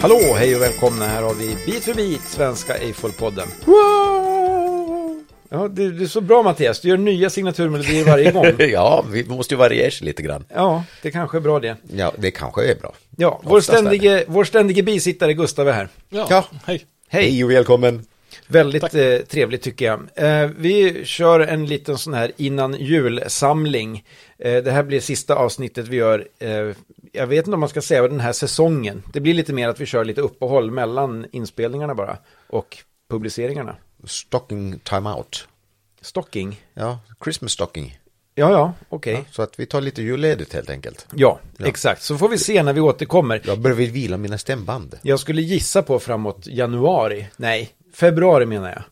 Hallå, hej och välkomna. Här har vi Bit för bit, Svenska Eiffel-podden. Ja, du, du är så bra Mattias, du gör nya signaturmelodier varje gång. ja, vi måste ju variera sig lite grann. Ja, det kanske är bra det. Ja, det kanske är bra. Ja, vår Oftast är det. ständige, vår ständige bisittare Gustav är här. Ja, Ja. hej. Hej, och välkommen. väldigt eh, trevligt tycker jag. Eh, vi kör en liten sån här innan julsamling. Eh, det här blir sista avsnittet vi gör. Eh, jag vet inte om man ska säga den här säsongen. Det blir lite mer att vi kör lite uppehåll mellan inspelningarna bara och publiceringarna. Stocking timeout. Stocking. Ja, Christmas stocking. Ja, ja, okej. Ja, så att vi tar lite julledigt helt enkelt. Ja. exakt. Så får vi se när vi återkommer. Jag behöver vila mina stämband. Jag skulle gissa på framåt januari. Nej, februari menar jag.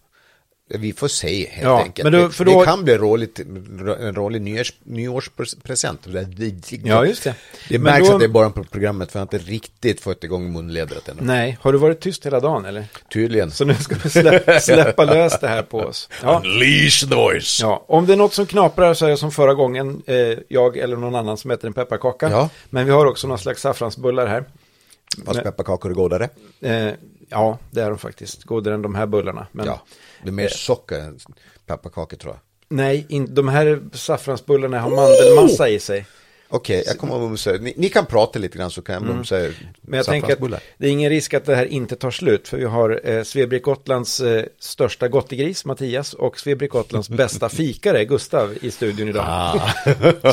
Vi får se helt Ja, enkelt. men då- för Det- då- Det kan bli roligt, en rolig nyårs, nyårspresent. Ja, just det. Det Men märks då- att det är bara på programmet för jag har inte riktigt fått igång munledret ännu. Nej, har du varit tyst hela dagen eller? Tydligen. Så nu ska vi slä, släppa lös det här på oss. Ja. Unleash the voice. ja, om det är något som knaprar så är jag som förra gången, eh, jag eller någon annan som äter en pepparkaka. Ja. Men vi har också någon slags saffransbullar här. Fast pepparkakor är godare. Eh, ja, det är de faktiskt, godare än de här bullarna. Men eh, Ja, det är mer socker än pepparkakor tror jag. nej, in, de här saffransbullarna har Oh! mandelmassa i sig. Okej, jag kommer att mumsa. Ni, ni kan prata lite grann så kan jag mumsa mm. Men jag tänker att det är ingen risk att det här inte tar slut, för vi har eh, Svebrick Gotlands eh, största gottegris, Mattias, och Svebrick Gotlands bästa fikare, Gustav, i studion idag. Ah.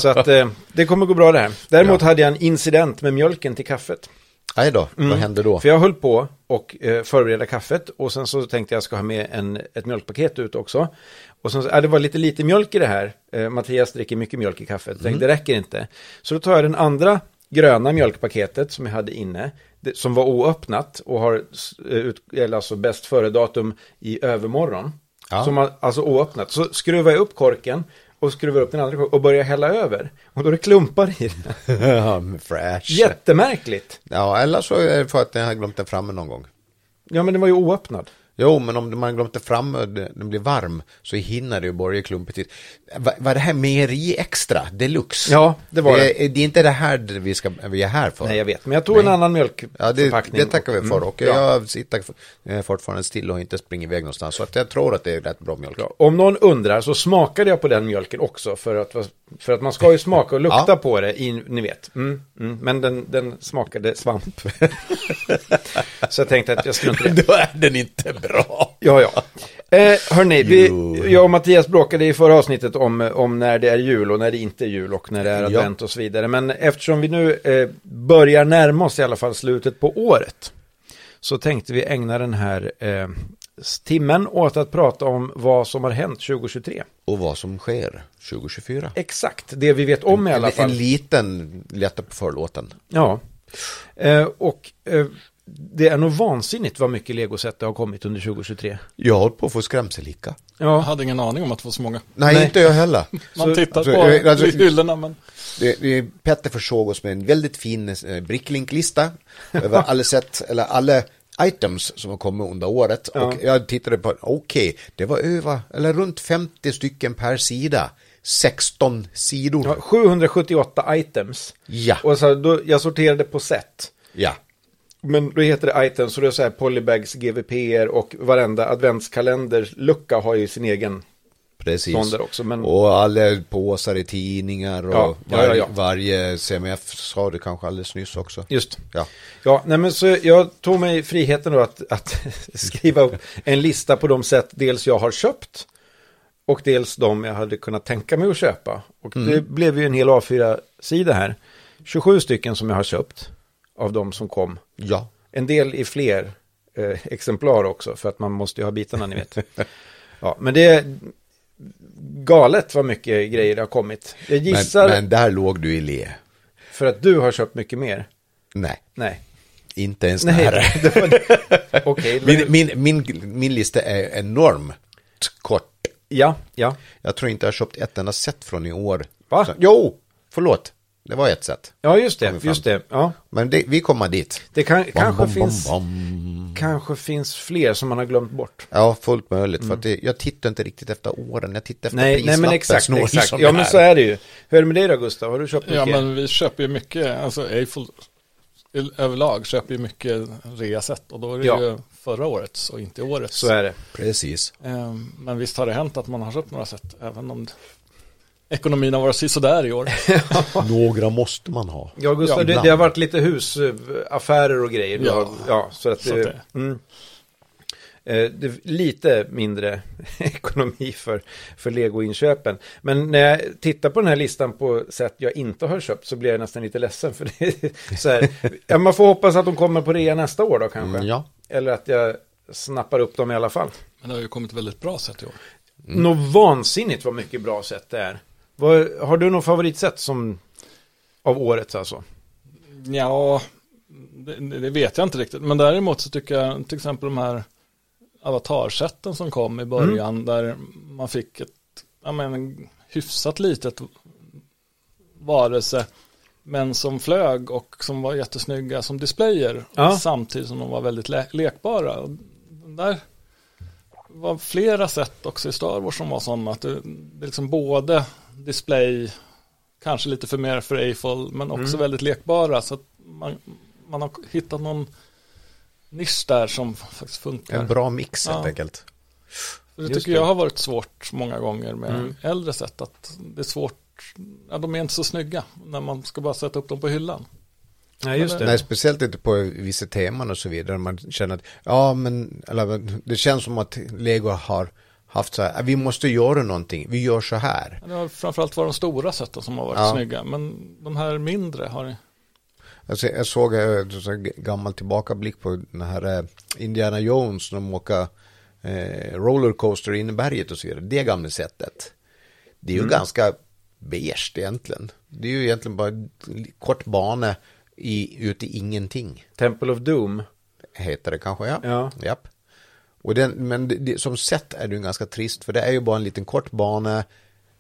Så att eh, det kommer gå bra det här. Däremot hade jag en incident med mjölken till kaffet. Nej då, Mm. vad händer då? För jag höll på och eh, förbereda kaffet och sen så tänkte jag ska ha med en, ett mjölkpaket ut också. Och sen så, äh, det var lite lite mjölk i det här. Eh, Mattias dricker mycket mjölk i kaffet. Jag Tänkte, det räcker inte. Så då tar jag den andra gröna mjölkpaketet som jag hade inne. Det, som var oöppnat och har s- eh, ut, eller alltså bäst före datum i övermorgon. Ja. Som har, alltså oöppnat. Så skruvar jag upp korken och skruvar upp den andra korken och börjar hälla över. Och då är det klumpar i den. Ja, men Fräsch. Jättemärkligt. Ja, eller så är det för att jag har glömt den framme någon gång. Ja men den var ju oöppnad. Jo, men om man glömt den framme och den den blir varm så hinner det ju börja klumpa till. Va- Var det här mejeri extra deluxe? Ja, det var det. är- Det är inte det här vi, ska, vi är här för. Nej, jag vet. Men jag tog en Nej. annan Ja, det, mjölkförpackning. det tackar vi för. Mm, Och ja. jag sitter eh, fortfarande still och inte springer iväg någonstans. Så att jag tror att det är rätt bra mjölk. Bra. Om någon undrar så smakade jag på den mjölken också. För att, för att man ska ju smaka och lukta Ja. på det, i, ni vet. Mm, mm. Men den, den smakade svamp. så jag tänkte att jag struntar i det. Då är den inte bra. Ja, ja. Eh, hörni, vi, Jo. jag och Mattias bråkade i förra avsnittet om, om när det är jul och när det inte är jul och när det är Ja. advent och så vidare. Men eftersom vi nu eh, börjar närma oss i alla fall slutet på året så tänkte vi ägna den här eh, timmen åt att prata om vad som har hänt 2023. Och vad som sker 2024. Exakt, det vi vet om i alla En, fall. en liten lätta på förlåten. Ja, eh, och eh, det är nog vansinnigt vad mycket legosätt det har kommit under 2023. Jag håller på att få skrämselhicka. Jag Ja, hade ingen aning om att det var så många. Nej, Nej. inte jag heller. Man Så- tittar alltså, på eh, alltså- hyllorna, men Det, det, Petter försåg oss med en väldigt fin eh, bricklinklista över alla sätt, eller alla items som har kommit under året. Och jag tittade på, okej, det var över, eller runt 50 stycken per sida. 16 sidor. Ja, Ja. 778 items. Ja. Och så här, då, jag sorterade på set. Men då heter det items och det är så här polybags, GVPR och varenda adventskalenderlucka har ju sin egen. Precis. Sonder också, men- Och alla påsar i tidningar och Ja, ja, ja, ja. Var, varje CMF sa du kanske alldeles nyss också. Just. Ja. Ja, nej men så jag tog mig friheten då att, att skriva upp en lista på de sätt dels jag har köpt och dels de jag hade kunnat tänka mig att köpa. Och det blev ju en hel A4-sida här. 27 stycken som jag har köpt av de som kom. Ja. En del i fler eh, exemplar också, för att man måste ju ha bitarna, ni vet. Ja, men det är galet vad mycket grejer det har kommit. Jag Men, gissar men där låg du i le. för att du har köpt mycket mer. Nej, Nej, inte ens nej. nära. det var- Okej, Min, min, min, min lista är enormt kort. ja, ja, Jag tror inte jag har köpt ett enda set från i år. Va? Så, jo, förlåt. Det var ett set. ja, just det, Kommer fram. just det, ja. Men det, vi kommer dit. Det kan, Bom, kanske, bom, finns, bom, bom. kanske finns fler som man har glömt bort. Ja, fullt möjligt. För att det, jag tittar inte riktigt efter åren. Jag tittar efter Nej, nej, prislappen. men exakt, snarare exakt. som Ja, det men här. så är det ju. Hur är det med dig då, Gustav? Har du köpt mycket? ja, men vi köper ju mycket, alltså Eiffel i- överlag köper ju mycket reaset och då är det Ja. ju förra årets och inte årets. Så är det. Precis. Ehm, Men visst har det hänt att man har köpt några set, även om ekonomin har varit sådär i år. Några måste man ha. Ja, Gustav, Ja, det, ibland. det har varit lite husaffärer och grejer. Ja. Ja, ja så att, Så att det- det... Mm. Eh, det, lite mindre ekonomi för, för Lego-inköpen. Men när jag tittar på den här listan på sätt jag inte har köpt så blir jag nästan lite ledsen. För det är så här, ja, man får hoppas att de kommer på rea nästa år då kanske. Mm, ja. Eller att jag snappar upp dem i alla fall. Men det har ju kommit väldigt bra set i år. Något vansinnigt vad mycket bra sätt det är. Vad, har du något favoritsätt som, av årets alltså? Ja, det, det vet jag inte riktigt. Men däremot så tycker jag till exempel de här avatarsätten som kom i början där man fick ett ja, men, hyfsat litet varelse men som flög och som var jättesnygga som displayer Ja. samtidigt som de var väldigt le- lekbara. Och den där var flera sätt också i Star Wars som var sådana att det, det är liksom både display kanske lite för mer för Eiffel, men också Mm. väldigt lekbara. Så att man, man har hittat någon nisch där som faktiskt funkar. En bra mix helt Ja. enkelt. För det just tycker det. jag har varit svårt många gånger med Mm. äldre sätt. Att det är svårt, ja, de är inte så snygga när man ska bara sätta upp dem på hyllan. Nej, just det. Nej, speciellt inte på vissa teman och så vidare. Man känner att, ja men, eller, det känns som att Lego har haft så här, "Ah, vi måste göra någonting, vi gör så här. Det har framförallt varit de stora sätten som har varit Ja. snygga, men de här mindre har Alltså, jag såg eh, en sån här gammal tillbakablick på den här eh, Indiana Jones när de åker eh, rollercoaster in i berget och så vidare. Det gamla sättet. Det är ju ganska beige egentligen. Det är ju egentligen bara en kort bana i, ute i ingenting. Temple of Doom. heter det kanske, ja. Ja. Japp. Och den, men det, det, som sett är det ju ganska trist, för det är ju bara en liten kort bana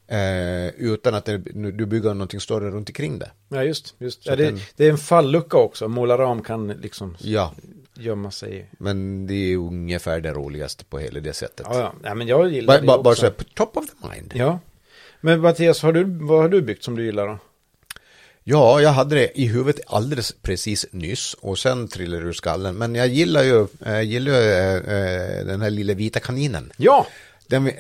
eh, utan att det, nu, du bygger någonting större runt omkring det. Ja, just. just. Så Ja, det, den- det är en fallucka också. Molaram kan liksom Ja, gömma sig. i- men det är ju ungefär det roligaste på hela det sättet. Ja, ja. Nej, men jag gillar Bara, det bara, bara också. så här, på top of the mind. Ja. Ja. Men Mattias, har du, vad har du byggt som du gillar då? jag hade det i huvudet alldeles precis nyss och sen trillade det ur skallen. Men jag gillar ju, eh, gillar ju eh, eh, den här lilla vita kaninen. Ja! Den,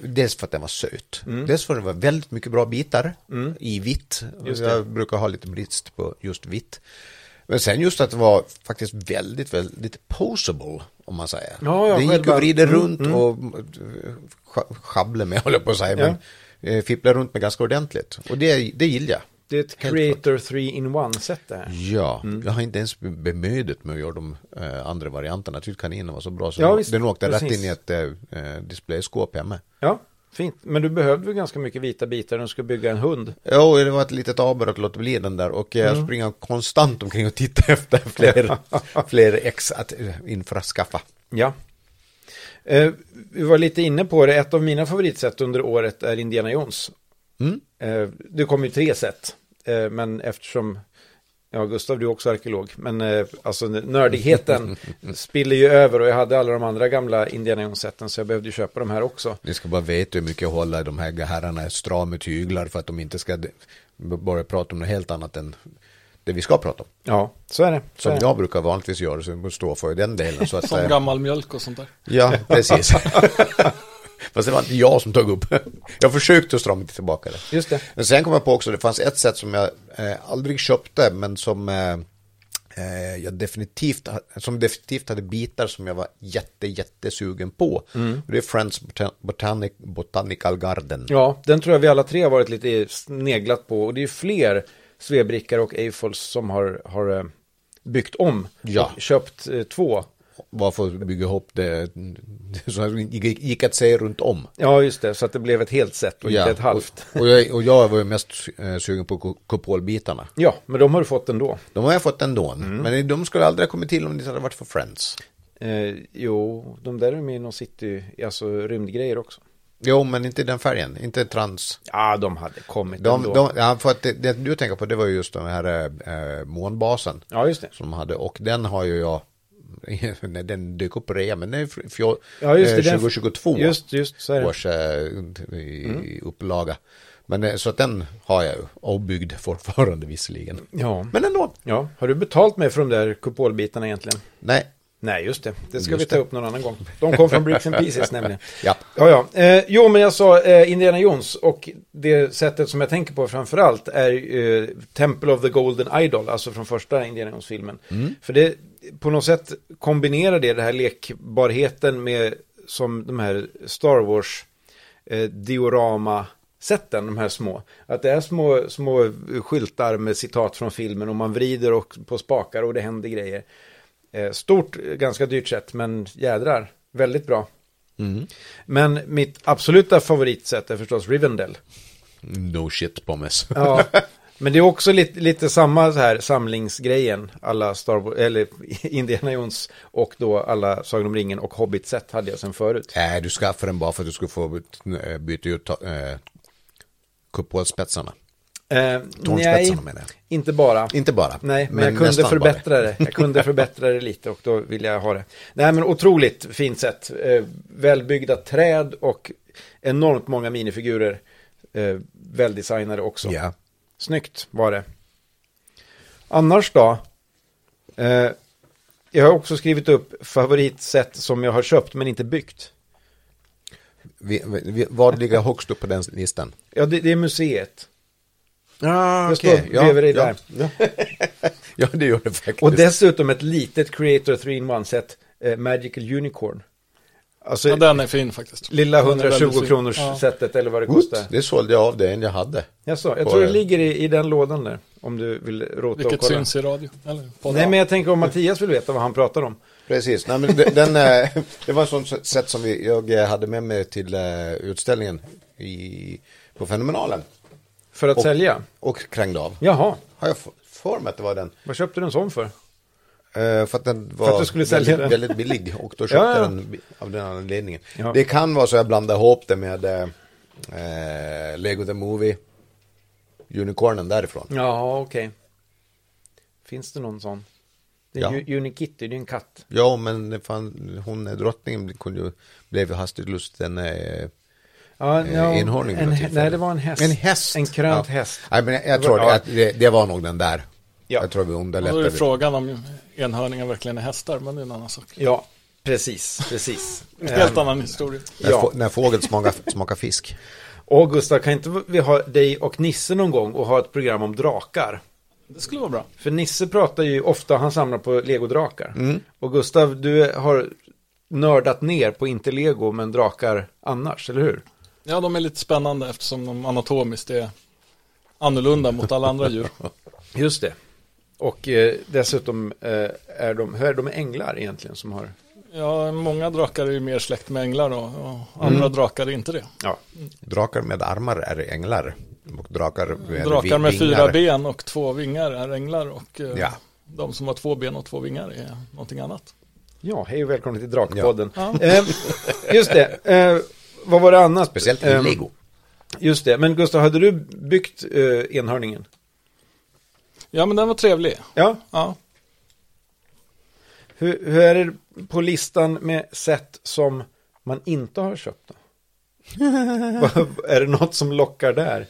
dels för att den var söt. Mm. Dels för att det var väldigt mycket bra bitar i vitt. Just det. Jag brukar ha lite brist på just vitt. Men sen just att det var faktiskt väldigt, väldigt posable, om man säger. Ja, ja, den gick själva- och vrider Mm, runt och eh, scha- schabblade med, håller jag på att säga, Ja. men eh, fipplade runt med ganska ordentligt. Och det, det gillar jag. Det är ett Helt Creator 3 in 1-set det här. Ja, Mm. jag har inte ens bemödat mig att göra de eh, andra varianterna. Jag tyckte kaninen var så bra så Ja, den- visst, den åkte rätt precis. in i ett eh, displayskåp hemma. Ja, fint. Men du behövde väl ganska mycket vita bitar när du skulle bygga en hund? Jo, det var ett litet aber att låta bli den där och jag springer konstant omkring och tittar efter fler, fler ex att eh, infraskaffa. Ja. Eh, vi var lite inne på det. Ett av mina favoritsätt under året är Indiana Jones. Mm. Eh, det kom ju tre sätt. Eh, men eftersom, ja Gustav du är också arkeolog, men eh, alltså n- nördigheten spiller ju över och jag hade alla de andra gamla Indiana Jones-sätten så jag behövde ju köpa de här också. Ni ska bara veta hur mycket jag håller de här herrarna stram med tyglar för att de inte ska d- börja prata om något helt annat än det vi ska prata om. Ja, så är det. Så Som är det. jag brukar vanligtvis göra, så jag står för den delen. Så att, som eh, gammal mjölk och sånt där. ja, precis. Fast det var inte jag som tog upp. Jag försökte att strama tillbaka det. Just det. Men sen kom jag på också, det fanns ett sätt som jag eh, aldrig köpte, men som eh, eh, jag definitivt, som definitivt hade bitar som jag var jätte, jättesugen på. Och det är Friends Botan- Botanic, Botanical Garden. Mm. Ja, den tror jag vi alla tre har varit lite sneglat på. Och det är ju fler svebrickar och Eiffels som har, har eh, byggt om. Ja. Och köpt eh, två. Varför bygga ihop det, så här gick gick att säga runt om. Ja, just det. Så att det blev ett helt set och inte ett halvt. Och, och, jag, och jag var ju mest eh, sugen på ku- kupolbitarna. Ja, men de har du fått ändå. De har jag fått ändå, Mm. men de skulle aldrig ha kommit till om det inte hade varit för Friends. Eh, jo, de där är med i någon city, alltså rymdgrejer också. Jo, men inte i den färgen, inte trans. Ja, de hade kommit De, ändå. de, ja, för att det, det du tänker på det var ju just den här eh, månbasen Ja, just det. som hade och den har ju jag när den dök upp på rea men den är fr- fjol, Ja, just Mm. det, eh, den- 2022 Just, just så är det. års eh, i, i upplaga. Men eh, så att den har jag ju avbyggd fortfarande visserligen. Ja. Men ändå. ja, har du betalt mig för de där kupolbitarna egentligen? Nej. Nej, just det. Det ska Just vi ta det. upp någon annan gång. De kom från Bricks and Pieces nämligen. Ja. Ja, ja. Eh, jo, men jag sa eh, Indiana Jones och det sättet som jag tänker på framför allt är eh, Temple of the Golden Idol, alltså från första Indiana Jones-filmen. För det på något sätt kombinerar det den här lekbarheten med som de här Star Wars eh, diorama sätten, de här små. Att det är små, små skyltar med citat från filmen och man vrider och på spakar och det händer grejer. Eh, Stort, eh, ganska dyrt sätt, men jädrar, väldigt bra. Men mitt absoluta favoritsätt är förstås Rivendell. No shit pommes. Ja. Men det är också lite, lite samma så här samlingsgrejen, alla Star Wars, eller Indiana Jones och då alla Sagan om ringen och Hobbit-set hade jag sedan förut. Nej, du skaffade den bara för att du skulle få eh, byta ut eh, kupolspetsarna. Eh, nej, Tornspetsarna menar jag. inte bara. Inte bara. Nej, men, jag kunde nästan bara. förbättra det. Jag kunde förbättra det lite och då ville jag ha det. Nej, men otroligt fint sätt. Eh, välbyggda träd och enormt många minifigurer. Eh, väldesignade också. Ja. Snyggt var det. Annars då? Eh, jag har också skrivit upp favoritsätt som jag har köpt men inte byggt. Vi, vi, vi- vad ligger högst upp på den listan? Ja, det, det är museet. Ah, Jag står bredvid dig där. Ja, det gör det faktiskt. Och dessutom ett litet Creator 3-in-1-set, eh, Magical Unicorn. Alltså, Ja, den är fin faktisist. Lilla Den är väldigt 120 fin. kronors Ja. sätet eller vad det Ut, kostar. det sålde jag av det en jag hade. Jaså, jag På tror det en- ligger i, i den lådan där. Om du vill rota och Vilket kolla. syns i radio. Eller på Nej, radio. men jag tänker om Mattias vill veta vad han pratar om. Precis, Nej, men de- den, eh, det var ett sånt sätt som vi, jag eh, hade med mig till eh, utställningen i, på Fenomenalen. För att Och- sälja. Och krängde av. Jaha, Har jag f- för mig att det var den. vad köpte du en sån för? Eh, för att den var du skulle sälja väldigt, den. väldigt billig och då köpte Ja, ja. jag den bi- av den anledningen. Ja. Det kan vara så jag blandar ihop det med eh, eh, Lego the Movie, Unicornen därifrån. Ja, okej. Finns det någon sån? Det är Ja. ju- Unikitty, det är en katt. Ja, men det fan, hon eh, drottningen kunde ju, blev ju hastigt lusten. Eh, Ja, Eh, ja, enhörning vid en, något hä- tillfälle. Nej, det var en häst. En häst. En krönt Ja. häst. Nej, men jag, jag Det tror var- att det, det var nog den där. Ja. Jag tror vi Och Då är underlättade. det frågan om enhörningar verkligen är hästar, men det är en annan sak. Ja, precis, precis. En helt annan historia. När, Ja. få, när fågeln smakar, smakar fisk. Ehm, Och Gustav, kan inte vi ha dig och Nisse någon gång och ha ett program om drakar? Det skulle vara bra. För Nisse pratar ju ofta, han samlar på legodrakar. Och Gustav, du har nördat ner på inte lego men drakar annars, eller hur? Ja, de är lite spännande eftersom de anatomiskt är annorlunda mot alla andra djur. Just det. Och eh, dessutom eh, är de, hur är de änglar egentligen som har... Ja, många drakar är ju mer släkt med änglar då, och andra Mm. drakar är inte det. Ja, Drakar med armar är änglar. Och drakar med, Drakar med vingar. fyra ben och två vingar är änglar och eh, Ja. de som har två ben och två vingar är någonting annat. ja hej och välkommen till Drakpodden. Ja. Eh, just det. Eh, vad var det annat? Speciellt i Ehm, lego. Just det. Men Gustav, hade du byggt eh, enhörningen? Ja, men den var trevlig. Ja. Ja. Hur, hur är det på listan med sätt som man inte har köpt? Då? Vad- är det något som lockar där?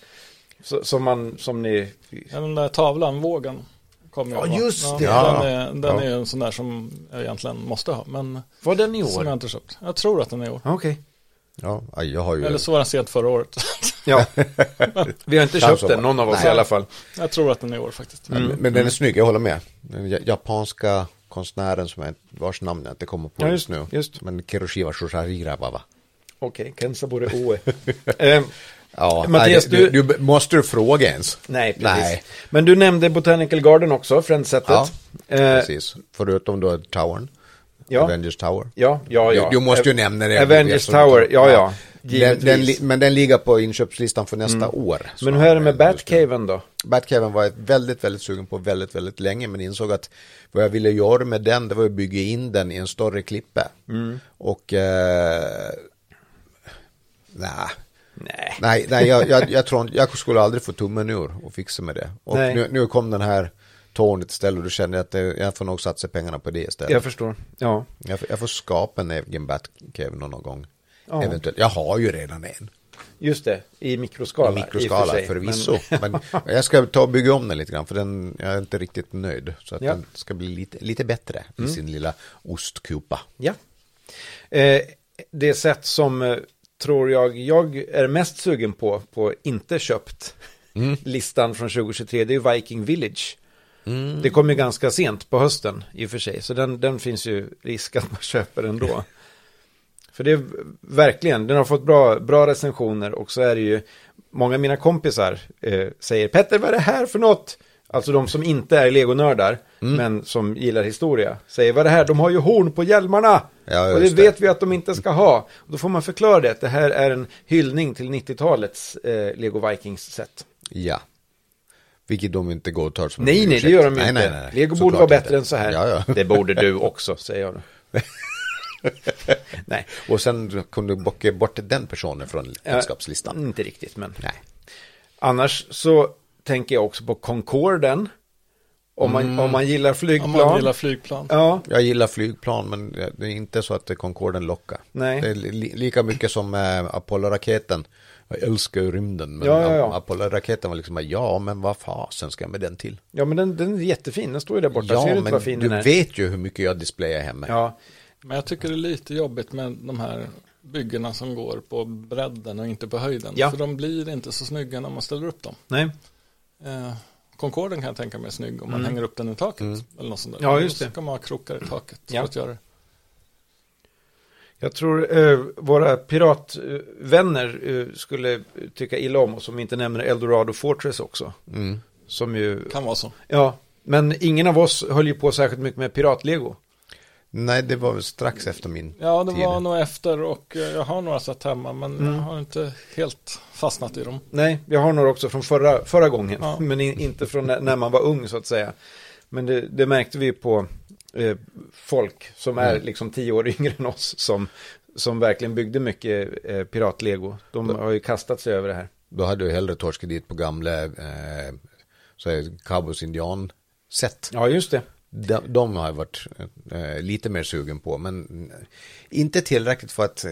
Så, som, man, som ni... Ja, Den där tavlan, vågen, kommer jag Ja, ihåg. just ja, det. Ja. Den, är, den Ja. är ju en sån där som jag egentligen måste ha, men Var den i som jag år? inte köpt. Jag tror att den är i år. Ja, Okej. Ja, ja, jag har ju... Eller så var den sent förra året. Ja. Vi har inte Kan köpt så den, vara. någon av oss Nej. i alla fall. jag tror att den är i år faktiskt. Mm. Ja, Mm. Men den är snygg, jag håller med. Den ja- japanska konstnären som är, vars namn jag inte kommer på Ja, just nu. just- just. Men Kiroshiva Shosharira va? va? Okej, Kensabore Oe. Ehm, Ja, Mattias, nej, du, du- du, du... Måste du fråga ens? nej, precis. Nej. Men du nämnde Botanical Garden också, Friendsetet. Ja, Ehm, Precis, förutom då Towern. Ja. Avengers Tower. ja, ja, ja. Du, du måste ju Ev- nämna det. Avengers eftersom- Tower, ja, ja. Den, den, li- Givetvis. Mm. men den ligger på inköpslistan för nästa år. Men hur är det med Batcave? Batcaven då? Batcaven var jag väldigt, väldigt sugen på väldigt, väldigt länge men insåg att vad jag ville göra med den det var att bygga in den i en större klippe. Mm. Och eh, nej, Nej. nej, nej jag, jag, jag tror inte- jag skulle aldrig få tummen ur och fixa med det. Och Nej. nu, nu kom den här tornet istället och då kände jag att det, jag får nog satsa pengarna på det istället. Jag förstår. Ja. Jag, får- jag får skapa en egen Batcaven någon gång. Ja. Eventuellt, jag har ju redan en. Just det, i mikroskala. i och för mikroskala sig, förvisso. Men... jag ska ta och bygga om den lite grann för den, jag är inte riktigt nöjd. Så att Ja. Mm. den ska bli lite, lite bättre i sin lilla ostkupa. Ja. Eh, det sätt som eh, tror jag jag är mest sugen på, på inte köpt, Mm. listan från 2023, det är ju Viking Village. Mm. Det kom ju ganska sent på hösten i och för sig, så den, den finns ju risk att man köper ändå. För det är verkligen, den har fått bra, bra recensioner och så är det ju, många av mina kompisar eh, säger Petter vad är det här för något? Alltså de som inte är legonördar, Mm. men som gillar historia, säger vad är det här, de har ju horn på hjälmarna! Ja, och det just det. vet vi att de inte ska ha. Och då får man förklara det, att det här är en hyllning till 90-talets eh, Lego Vikings sätt. Ja. Vilket de inte går och tar som en Nej, nej, ursäkt. det gör de ju Nej, inte. nej, nej. Lego borde Såklart vara bättre inte. än så här. Ja, ja. Det borde du också, säger jag då. Nej, Och sen kunde du bocka bort den personen från vänskapslistan. inte riktigt, men. Nej. Annars så tänker jag också på Concorden. Om man, Mm. om man gillar Om flygplan. man gillar flygplan. Ja, Jag gillar flygplan men det är inte så att Concorden lockar. Nej. Det är li lika mycket som eh, Apollo-raketen. Jag älskar ju rymden men Ja, ja, ja. Apollo-raketen var liksom bara, ja men vad fasen ska jag med den till? ja, men den, den är jättefin. Den står ju där borta. Ser du Ja inte vad men fin du den är? vet ju hur mycket jag displayar hemma. Ja, Men jag tycker det är lite jobbigt med de här byggena som går på bredden och inte på höjden. Ja. För de blir inte så snygga när man ställer upp dem. nej. Eh, Concorden kan jag tänka mig är snygg om man Mm. hänger upp den i taket. Eller något sånt där. Ja, just det. Så kan man ha krokar i taket Ja. för att göra det. Jag tror eh, våra piratvänner eh, skulle tycka illa om oss om vi inte nämner Eldorado Fortress också. Mm. Som ju, Kan vara så. ja, men ingen av oss höll ju på särskilt mycket med piratlego. Nej det var väl strax efter min Ja, det tid. var nog efter och eh, jag har några satt hemma men Mm. jag har inte helt fastnat i dem. Nej, jag har några också från förra, förra gången, Ja. men i- inte från när, när man var ung så att säga. Men det, det märkte vi ju på eh, folk som är Mm. liksom tio år yngre än oss som, som verkligen byggde mycket eh, piratlego. De har ju kastat sig över det här. Då hade du hellre torskredit på gamla eh, så här, cowboys indian sätt. Ja, just det. De, de har jag varit eh, lite mer sugen på, men inte tillräckligt för att eh,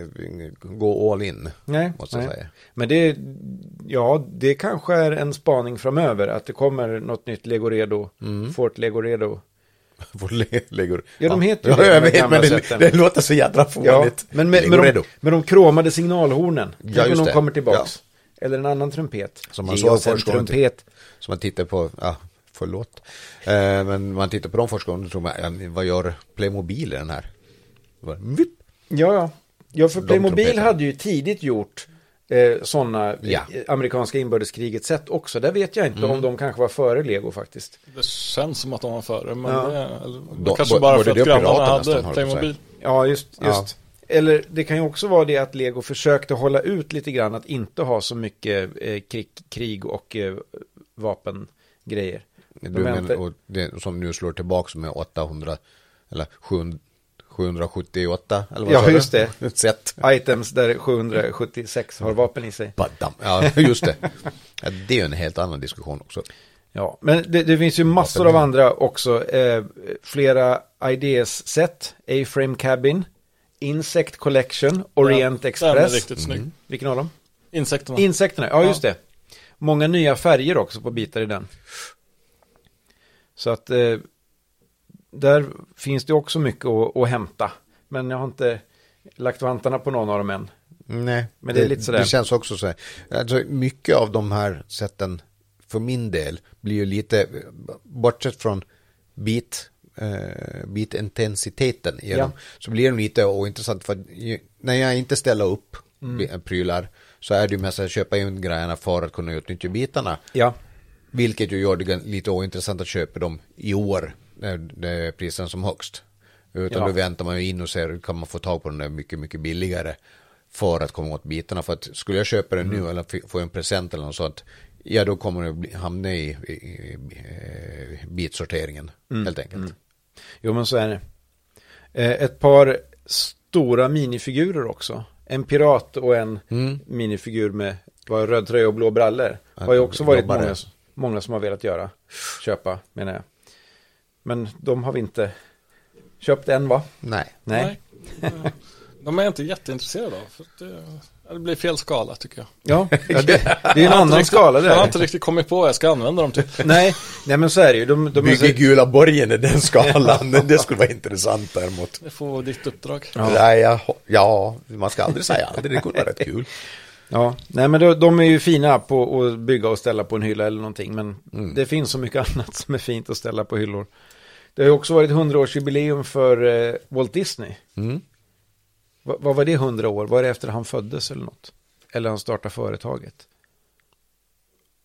gå all in. Nej, måste nej. jag säga. Men det, ja, det kanske är en spaning framöver att det kommer något nytt Legoredo, Fort Legoredo. Vår le- legor. Ja, de heter ju ja, det, jag de vet, gamla men det, sätten. det låter så jädra fånigt. men med, med, Legoredo. de, med de kromade signalhornen. Ja, Tänk om just de det. kommer tillbaks. Eller en annan trumpet. Som man Ge såg oss en först gången till- trumpet. Som man tittar på, ja, förlåt. Eh, men man tittar på de forskarna och tror man, ja, men vad gör Playmobil i den här? Bara, vipp. Ja, ja. Ja, för De Playmobil trumpeterna. hade ju tidigt gjort eh, sådana Ja. Mm. eh, amerikanska inbördeskriget sätt också. Där vet jag inte om de kanske var före Lego faktiskt. Det känns som att de var före men Ja. det, eller, Då- kanske bo- bara borde för det att grannarna pirater nästan, hade höll jag på att Playmobil. Ja, just. just. Ja. Eller det kan ju också vara det att Lego försökte hålla ut lite grann att inte ha så mycket eh, krig, krig och eh, vapengrejer. Du De men, väntar- och det, som nu slår tillbaka med 800 eller 700, 778 eller vad Ja, sa du? just det. Sätt. Items där 776 har vapen i sig. Badam. Ja, just det. Ja, det är ju en helt annan diskussion också. Ja, men det, det finns ju massor av andra också. Eh, flera IDS-set, A-Frame Cabin, Insect Collection, Orient Den- Den är Express. riktigt snygg. Mm. Vilken av dem? Insekterna. Insekterna, ja Ja. just det. Många nya färger också på bitar i den. Så att eh, där finns det också mycket att, att hämta. Men jag har inte lagt vantarna på någon av dem än. Nej, Men det är lite sådär. Det känns också så här. Alltså, mycket av de här sätten för min del blir ju lite, bortsett från bit, eh, bitintensiteten i Ja. dem, så blir de lite ointressant. För att ju- när jag inte ställer upp Mm. bi- prylar så är det ju mest att köpa in grejerna för att kunna utnyttja bitarna. Ja, Vilket ju gör det gan- lite ointressant att köpa dem i år när det är prisen som högst. Utan Ja. då väntar man ju in och ser kan man få tag på den där mycket, mycket billigare för att komma åt bitarna. För att skulle jag köpa den Mm. nu eller f- få en present eller något sånt, ja då kommer det bli, hamna i, i, i eh, bitsorteringen Mm. helt enkelt. jo men så är det. Eh, ett par stora minifigurer också. En pirat och en Mm. minifigur med var röd tröja och blå brallor. Har ju också varit jobbare. många, många som har velat göra. Köpa menar jag. Men de har vi inte köpt än va? Nej. Nej. Nej. De är jag inte jätteintresserade av. För att det, Det blir fel skala tycker jag. Ja, ja det, det är en Jag har inte annan riktigt- skala Jag har inte där. riktigt kommit på vad jag ska använda dem till. Nej, nej, men så är det ju. De, de är så... Bygger gula borgen i den skalan, det skulle vara intressant däremot. Det får vara ditt uppdrag. Ja. Nej, jag, ja, man ska aldrig säga aldrig, det kunde vara rätt kul. Ja, nej men de, de är ju fina på att bygga och ställa på en hylla eller någonting. Men det finns så mycket annat som är fint att ställa på hyllor. Det har ju också varit 100-årsjubileum för eh, Walt Disney. Mm. Va, vad var det 100 år? Var det efter han föddes eller något? Eller han startade företaget?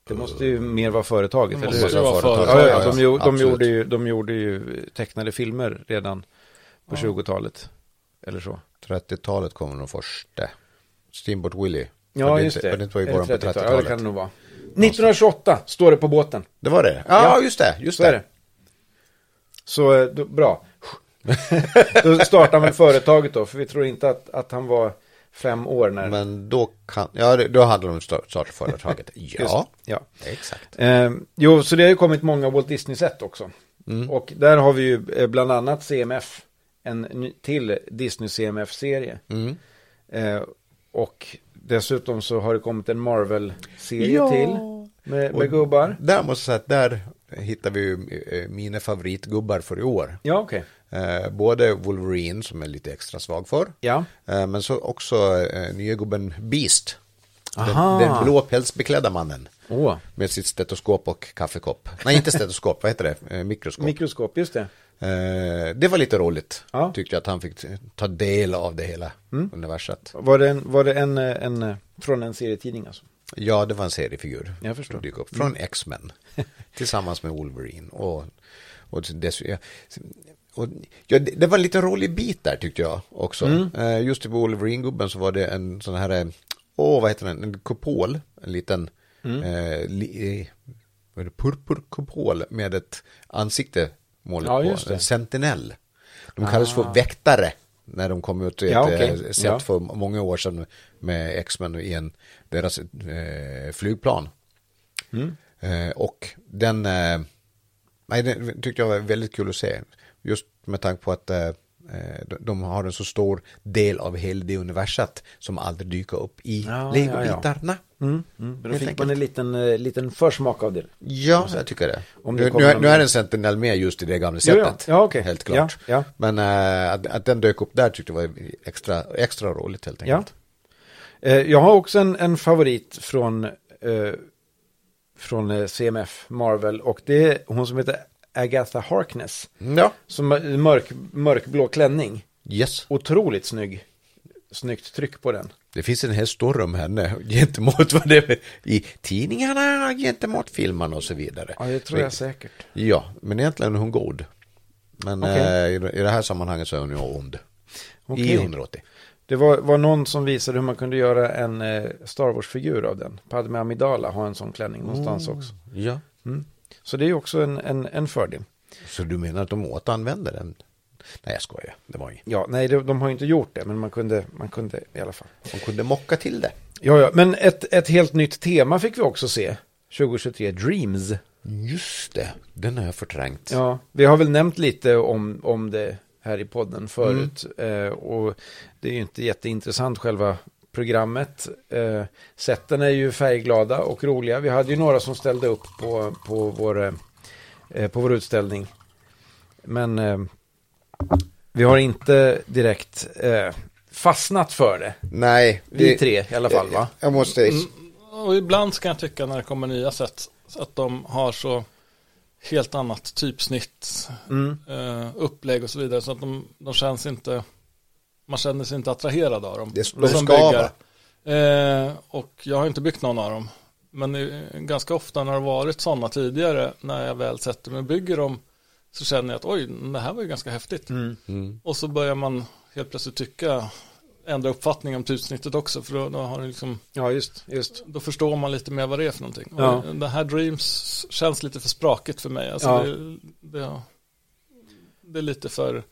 Det måste ju mer vara företaget, Det eller måste hur? ju vara Ja, ja, företag. ja, de, gjo- de, Absolut. gjorde ju, de gjorde ju tecknade filmer redan på 20-talet. Eller så. 30-talet kommer de första. Steamboat Willie. Ja, just det. Var det inte var i Eller början på 30-talet. 30-talet? Ja, det kan det nog vara. 1928 står det på båten. Det var det? Ja, just det. Just Så är det. det. Så eh, då, bra. då startade han väl företaget då, för vi tror inte att, att han var fem år när... Men då kan, ja, det- då handlar det om sta- starta företaget. Just, Ja, ja. exakt. Eh, jo, så det har ju kommit många Walt Disney-set också. Och där har vi ju eh, bland annat CMF, en ny, till Disney CMF-serie. Mm. Eh, och dessutom så har det kommit en Marvel-serie Ja. till med, med gubbar. Där måste jag säga att där hittar vi ju eh, mina favoritgubbar för i år. Ja, okej. Eh, både Wolverine, som jag är lite extra svag för, Ja. eh, men så också eh, nya gubben Beast. Aha. Den, den blå pälsbeklädda mannen. Åh. Med sitt stetoskop och kaffekopp. Nej, inte stetoskop, vad heter det? Eh, mikroskop. Mikroskop, just det. Eh, det var lite roligt, Ja. tyckte jag, att han fick ta del av det hela universet. Var det, en, var det en, eh, en, eh, från en serietidning alltså? Ja, det var en seriefigur Jag förstår. Mm. som dök upp från X-Men tillsammans med Wolverine. Och, och, dess, ja, och, ja, det, det var en liten rolig bit där tyckte jag också. Mm. Eh, just på Wolverine-gubben så var det en sån här, eh, åh vad heter den, en kupol, en liten Mm. eh, li, eh, vad är det, purpurkupol med ett ansikte målat Ja, just på, det. Ah. en sentinell. De kallas för väktare när de kom ut i ett Ja, eh, okej. set Ja. för många år sedan med X-Men i en, deras eh, flygplan. Mm. Eh, och den, eh, nej, den tyckte jag var väldigt kul att se. Just med tanke på att eh, eh, de- de har en så stor del av hela det universet som aldrig dyker upp i Ja, legobitarna. Ja, Mm. Mm. Då Helt fick man enkelt. en liten, eh, liten försmak av det. jag tycker det. Om det nu, kommer nu, är- någon- nu är en Sentinel med just i det gamla Jo, ja. sättet. Ja, okej. Helt klart. Ja, ja. Men eh, att, att den dök upp där tyckte jag var extra, extra roligt helt Ja. enkelt. Eh, Jag har också en, en favorit från, eh, från eh, CMF, Marvel, och det är hon som heter Agatha Harkness. Mm, Ja. Som har mörk, mörkblå klänning. Yes. Otroligt snygg. Snyggt tryck på den. Det finns en hel story om henne gentemot vad det är i tidningarna, gentemot filmerna och så vidare. Ja, det tror jag säkert. Ja, men egentligen är hon god. Men Okej. eh, i det- i det här sammanhanget så är hon ju ond. Okej. I 180. Det var, var någon som visade hur man kunde göra en eh, Star Wars-figur av den. Padme Amidala har en sån klänning någonstans Alltså också. Ja. Mm. Så det är ju också en, en, en fördel. Så du menar att de återanvänder den? Nej, jag skojar. Det var ju... Ja, nej, de, de har ju inte gjort det, men man kunde, man kunde i alla fall. De kunde mocka till det. Ja, ja, men ett, ett helt nytt tema fick vi också se. 2023, Dreams. Just det, den har jag förträngt. Ja, vi har väl nämnt lite om, om det här i podden förut. Eh, och det är ju inte jätteintressant själva programmet. Eh, sätten är ju färgglada och roliga. Vi hade ju några som ställde upp på, på, vår, eh, på vår utställning. Men eh, vi har inte direkt eh, fastnat för det. eh, Nej. Vi det- tre i alla fall, va? Mm. Jag måste... Och ibland kan jag tycka när det kommer nya sätt att de har så helt annat typsnitt, Mm. eh, upplägg och så vidare. Så att de, de känns inte, man känner sig inte attraherad av dem. Det- de som ska byggare. Eh, och jag har inte byggt någon av dem. Men eh, ganska ofta när det har varit sådana tidigare, när jag väl sätter mig och bygger dem, så känner jag att oj, det här var ju ganska häftigt. mm. Mm. Och så börjar man helt plötsligt tycka, ändra uppfattning om typsnittet också, för då, då har det liksom Ja, just, just. då förstår man lite mer vad det är för någonting. Ja. Och Det här Dreams känns lite för sprakigt för mig. Alltså Ja. det, det, det är lite för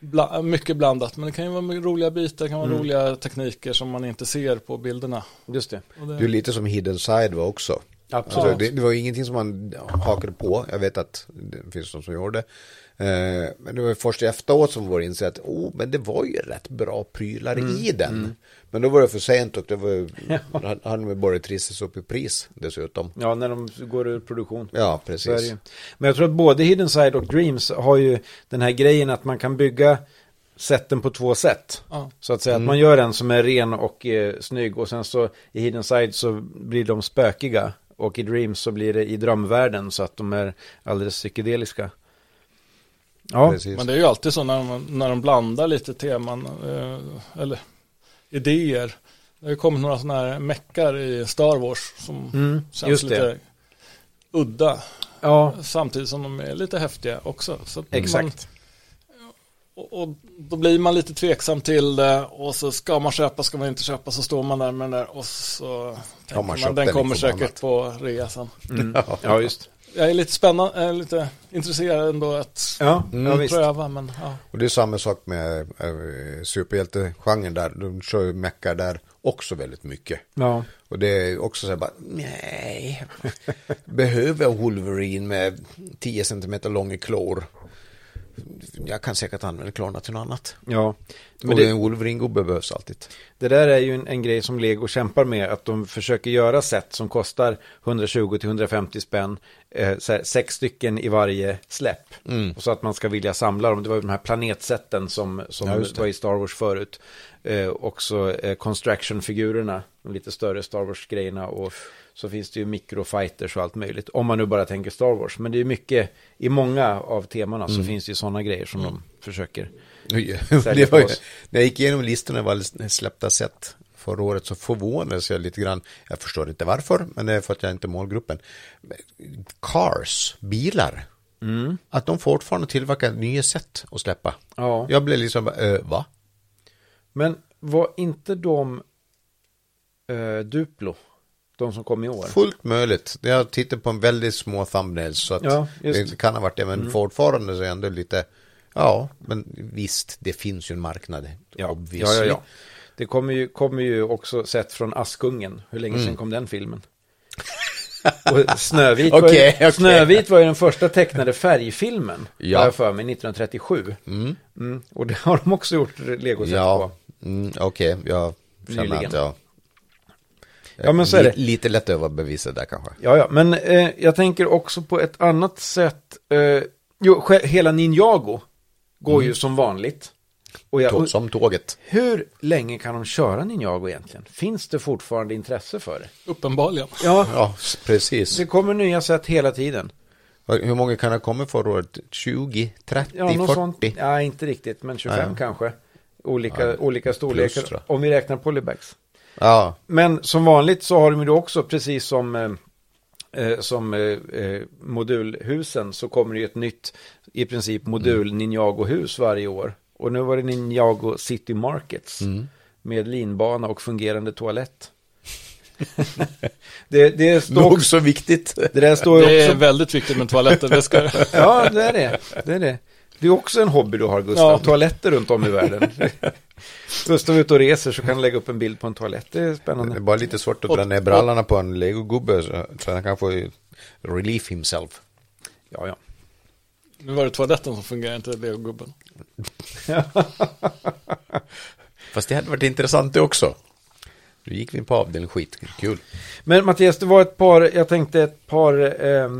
bla, mycket blandat. Men det kan ju vara mycket roliga bitar, det kan vara Mm. roliga tekniker som man inte ser på bilderna. Just det. Och det, Du är lite som Hidden Side var också. Absolut. Alltså, det, det var ju ingenting som man hakade på. Jag vet att det finns de som gjorde det. Eh, men det var ju först efteråt som var insett att oh, men det var ju rätt bra prylar i den. Men då var det för sent och det var ju, han, han hade börjat trissas upp i pris dessutom. Ja, när de går ur produktion. Ja, Så är det precis. ju. Men jag tror att både Hidden Side och Dreams har ju den här grejen att man kan bygga sätten på två sätt. Ja. Så att Mm. säga att man gör en som är ren och eh, snygg och sen så i Hidden Side så blir de spökiga. Och i Dreams så blir det i drömvärlden så att de är alldeles psykedeliska. Ja, precis. Men det är ju alltid så när de, när de blandar lite teman eh, eller idéer. Det har ju kommit några sådana här meckar i Star Wars som mm, känns just lite det. udda. Ja, Samtidigt som de är lite häftiga också. Så att Man, exakt. och, och då blir man lite tveksam till det och så ska man köpa, ska man inte köpa så står man där med den där och så tänker man man, köpt den den kommer liksom säkert på resan. Mm. Ja, just. Jag är lite spännande, eh, lite intresserad ändå att Ja, ja visst. pröva men ja. Och det är samma sak med eh, superhjältegenren där. De kör ju meckar där också väldigt mycket. Ja, Och det är också så här bara, nej, behöver jag Wolverine med 10 cm långa klor? Jag kan säkert använda klorna till något annat. ja. och Men det, en Wolverine-gubbe behövs alltid. det där är ju en, en grej som Lego kämpar med, att de försöker göra set som kostar 120-150 spänn, eh, så här, sex stycken i varje släpp. Mm. Och så att man ska vilja samla dem. Det var ju de här planetseten som, som Ja, just det. var i Star Wars förut. Eh, också eh, Construction-figurerna, de lite större Star Wars-grejerna. Och så finns det ju mikrofighters och allt möjligt, om man nu bara tänker Star Wars. Men det är ju mycket, i många av temana Mm. så finns det ju sådana grejer som de försöker. det var ju, när jag gick igenom listorna av alla släppta set förra året så förvånades jag lite grann. Jag förstår inte varför, men det är för att jag inte är målgruppen. Cars, bilar. Att de fortfarande tillverkar nya set att släppa. Ja. Jag blev liksom, äh, va? Men var inte de eh, Duplo? De som kom i år? Fullt möjligt. Jag tittar på en väldigt små thumbnails så att Ja, just. Mm. det kan ha varit det. Men fortfarande så är jag ändå lite, ja, men visst, det finns ju en marknad. obviously. Det kommer ju, kommer ju också sett från Askungen. Hur länge Mm. sedan kom den filmen? Och Snövit, var ju, Okej, okej. Snövit var ju den första tecknade färgfilmen. Ja. Har jag för mig, 1937. Mm, och det har de också gjort legosätt Ja, på. mm, okej, jag känner Nyligen. att jag... Ja, men så är Li- det. Lite lätt överbevisad där kanske. Ja, ja, men eh, jag tänker också på ett annat sätt. Eh, jo, sj- hela Ninjago går Mm. ju som vanligt. Och jag, Tå- Som tåget. Hur länge kan de köra Ninjago egentligen? Finns det fortfarande intresse för det? uppenbarligen. Ja, Ja, s- precis. det kommer nya sätt hela tiden. Hur många kan ha kommit förra året? 20, 30, Ja, något 40? sånt. Ja, inte riktigt, men 25 Nej. kanske. Olika, Ja, olika storlekar, plus, tror om vi räknar polybags. Ja, Men som vanligt så har de ju då också, precis som, eh, eh, som eh, eh, modulhusen, så kommer det ju ett nytt, i princip modul Mm. Ninjago-hus varje år. Och nu var det Ninjago City Markets, Mm. med linbana och fungerande toalett. det, det, står nog också, så viktigt. det där står ju Det också är väldigt viktigt med toaletter. Det ska, Ja, det är det. Det är det. Det är också en hobby du har, Gustav. Ja. Toaletter runt om i världen. Gustav är ute och reser så kan han lägga upp en bild på en toalett. Det är Det är Eh, spännande. bara lite svårt att dra ner brallorna på en legogubbe så, så han kan få relief himself. Ja, ja. nu var det toaletten som fungerar, inte legogubben. Fast det hade varit intressant det också. Nu gick vi in på avdelning skit, kul. Men Mattias, det var ett par, jag tänkte ett par eh,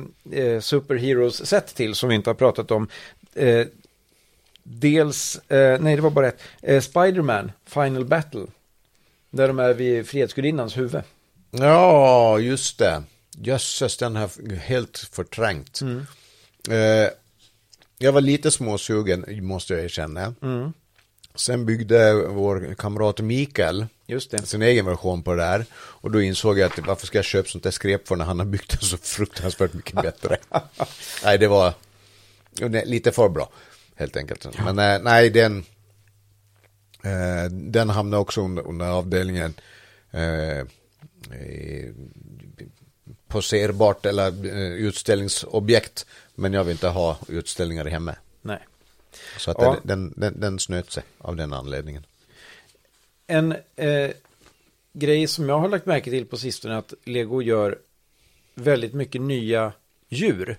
eh, superheroes-set till som vi inte har pratat om. Eh, dels, eh, nej det var bara ett, eh, Spider-Man, Final Battle. Där de är vid Frihetsgudinnans huvud. Ja, just det. Jösses, den här helt förträngt. Eh, jag var lite småsugen, måste jag erkänna. Sen byggde vår kamrat Mikael Just det. sin egen version på det där. Och då insåg jag att varför ska jag köpa sånt där skräp för när han har byggt den så fruktansvärt mycket bättre. nej, det var jo, nej, lite för bra, helt enkelt. Men eh, nej, den, eh, den hamnade också under, under avdelningen. Eh, eh, poserbart eller eh, utställningsobjekt. Men jag vill inte ha utställningar hemma. Nej. Så att Ja. den, den, den, den snöt sig av den anledningen. En eh, grej som jag har lagt märke till på sistone är att Lego gör väldigt mycket nya djur,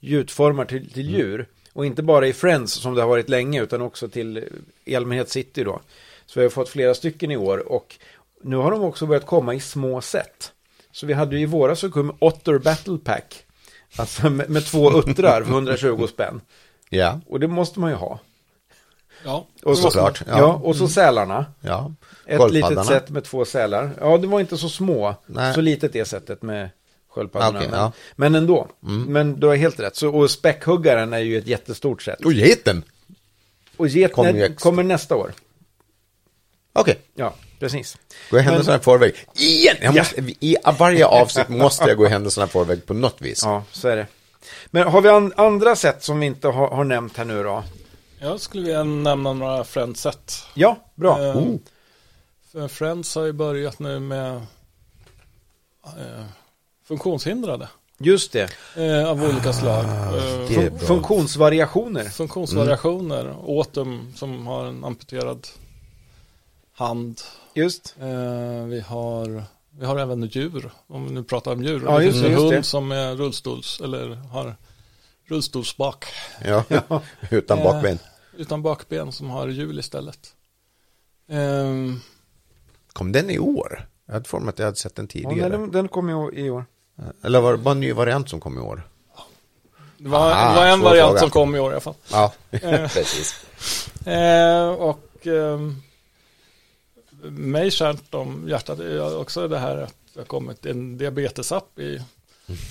gjutformar till, till djur. Och inte bara i Friends som det har varit länge utan också till i allmänhet City då. Så vi har fått flera stycken i år och nu har de också börjat komma i små set. Så vi hade ju i våra så kom Otter Battle Pack. Alltså med, med två uttrar för 120 spänn. Ja, Och det måste man ju ha. Ja, Och så, Såklart, Ja. ja. och så sälarna. ja. Ett Sköldpaddarna. litet set med två sälar. Ja, det var inte så små. Nej. Så litet det sättet med sköldpaddorna. Okej, men, ja. Mm. men ändå. Men du har helt rätt. Så, och späckhuggaren är ju ett jättestort set. Och geten! Och get Kommer ju kommer, extra. kommer nästa år. Okej, Ja, precis. gå händelserna i förväg. Igen! Jag Ja. måste, I varje avsnitt måste jag gå händelserna i förväg på något vis. Ja, så är det. Men har vi an- andra sätt som vi inte har, har nämnt här nu då? jag skulle vilja nämna några Friends-set. Ja, bra. Eh, Oh. för Friends har ju börjat nu med eh, funktionshindrade Just det. eh, av olika slag. Eh, Det är Fun- bra. Funktionsvariationer. Funktionsvariationer. Autumn som har en amputerad hand. Just. Eh, vi, har, vi har även djur, om vi nu pratar om djur. Ja, det just finns det, en just hund det. som är rullstols, eller har rullstolsbak Ja. Utan Eh, bakben. utan bakben som har hjul istället. Ehm, Kom den i år? Jag hade för mig att jag hade sett den Ja, nej, tidigare. den, den kommer ju i år. Eller var det bara en ny variant som kom i år? det, var, Aha, det var en svår variant fråga. som kom i år i alla fall. Ja, Eh. precis. Eh, och ehm, mig kärt om hjärtat är också det här att det har kommit en diabetesapp i,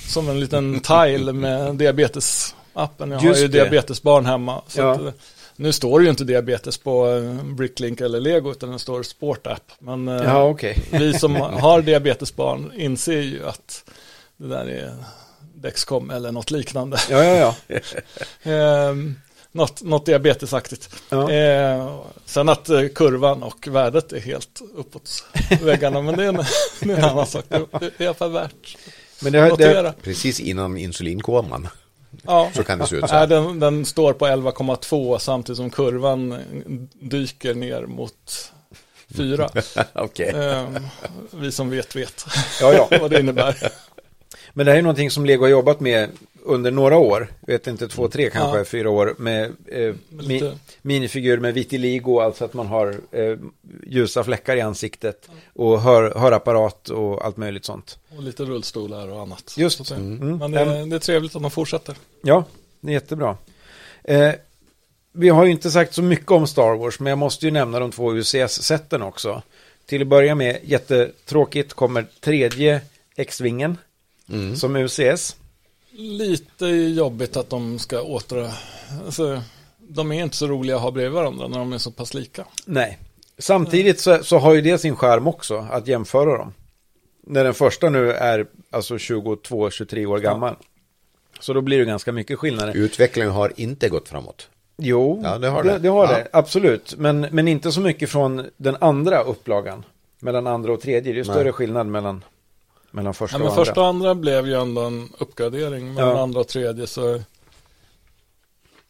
som en liten tile med diabetesappen. Jag Just har ju det. diabetesbarn hemma. Så Ja. att, eh, nu står det ju inte diabetes på eh, Bricklink eller Lego utan det står Sportapp. Men eh, Ja, okej. vi som har diabetesbarn inser ju att det där är Dexcom eller något liknande. Ja, ja, ja. Eh, något, något diabetesaktigt. Ja. Eh, sen att eh, kurvan och värdet är helt uppåt väggarna, men det är en, det är en annan sak. Det, det är i alla fall värt Men det, har- att det, notera. Precis innan insulinkoman. Ja. Så kan det se ut så. Nej, här. den, den står på 11,2 samtidigt som kurvan dyker ner mot 4. Okej. Eh, vi som vet vet ja, ja. vad det innebär. Men det här är någonting som Lego har jobbat med under några år, vet inte, två, tre kanske, Ja. fyra år, med eh, mi, lite- minifigur med vitiligo, alltså att man har eh, ljusa fläckar i ansiktet och hör, hörapparat och allt möjligt sånt. Och lite rullstolar och annat. Just. Så att säga. Mm. Men det, är- det är trevligt att de fortsätter. Ja, det är jättebra. Eh, vi har ju inte sagt så mycket om Star Wars, men jag måste ju nämna de två UCS-sätten också. Till att börja med, jättetråkigt, kommer tredje X-vingen som UCS. lite jobbigt att de ska åter... Alltså, de är inte så roliga att ha bredvid varandra när de är så pass lika. Nej. Samtidigt så, så har ju det sin skärm också, att jämföra dem. När den första nu är alltså 22-23 år gammal. Så då blir det ganska mycket skillnader. Utvecklingen har inte gått framåt. Jo, Ja, det har det, det. har Ja. det absolut. Men, men inte så mycket från den andra upplagan. Mellan andra och tredje, det är ju Nej. större skillnad mellan, mellan första Ja, men och andra. första och andra blev ju ändå en uppgradering, men Ja. andra och tredje så,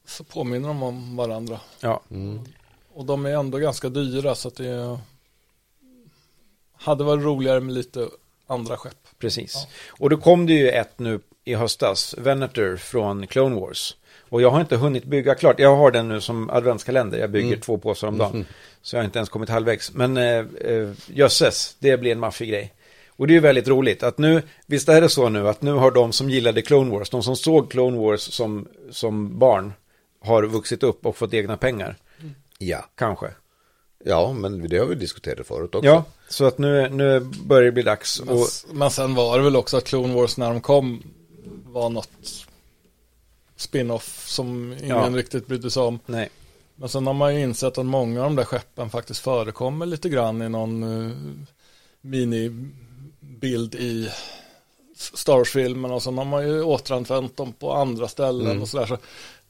så påminner de om varandra. Ja. Mm. Och de är ändå ganska dyra så att det är- hade varit roligare med lite andra skepp. Precis. Och då kom det ju ett nu i höstas, Venator från Clone Wars. Och jag har inte hunnit bygga klart. Jag har den nu som adventskalender. Jag bygger två påsar om dagen. Så jag har inte ens kommit halvvägs. Men eh, eh, jösses, det blir en maffig grej. Och det är ju väldigt roligt att nu, visst är det så nu att nu har de som gillade Clone Wars, de som såg Clone Wars som, som barn, har vuxit upp och fått egna pengar. Ja, Kanske. ja men det har vi diskuterat förut också. Ja, så att nu, nu börjar det bli dags. Men, Och, men sen var det väl också att Clone Wars när de kom var något spin-off som ingen Ja. riktigt brydde sig om. nej, Men sen har man ju insett att många av de där skeppen faktiskt förekommer lite grann i någon eh, minibild i Star Wars-filmen och sen har man ju återanvänt dem på andra ställen Mm. och sådär. Så,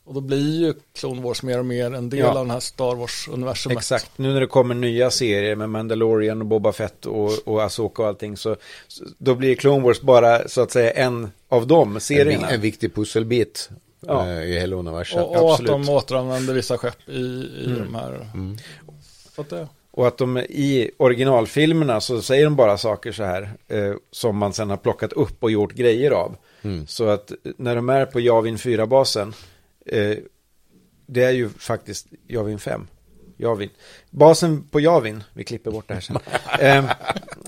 och då blir ju Clone Wars mer och mer en del Ja. av den här Star Wars-universumet. Exakt, nu när det kommer nya serier med Mandalorian och Boba Fett och, och Asoka och allting så, så då blir Clone Wars bara så att säga en av de En, vi- serierna. en viktig pusselbit Ja. eh, i hela universum. Och, och att Absolut. Mm. de återanvänder vissa skepp i, i de här. Så att det, Och att de i originalfilmerna så säger de bara saker så här eh, som man sen har plockat upp och gjort grejer av. Mm. Så att när de är på Javin 4-basen, eh, det är ju faktiskt Javin 5. Javin. Basen på Javin, vi klipper bort det här sen. Eh,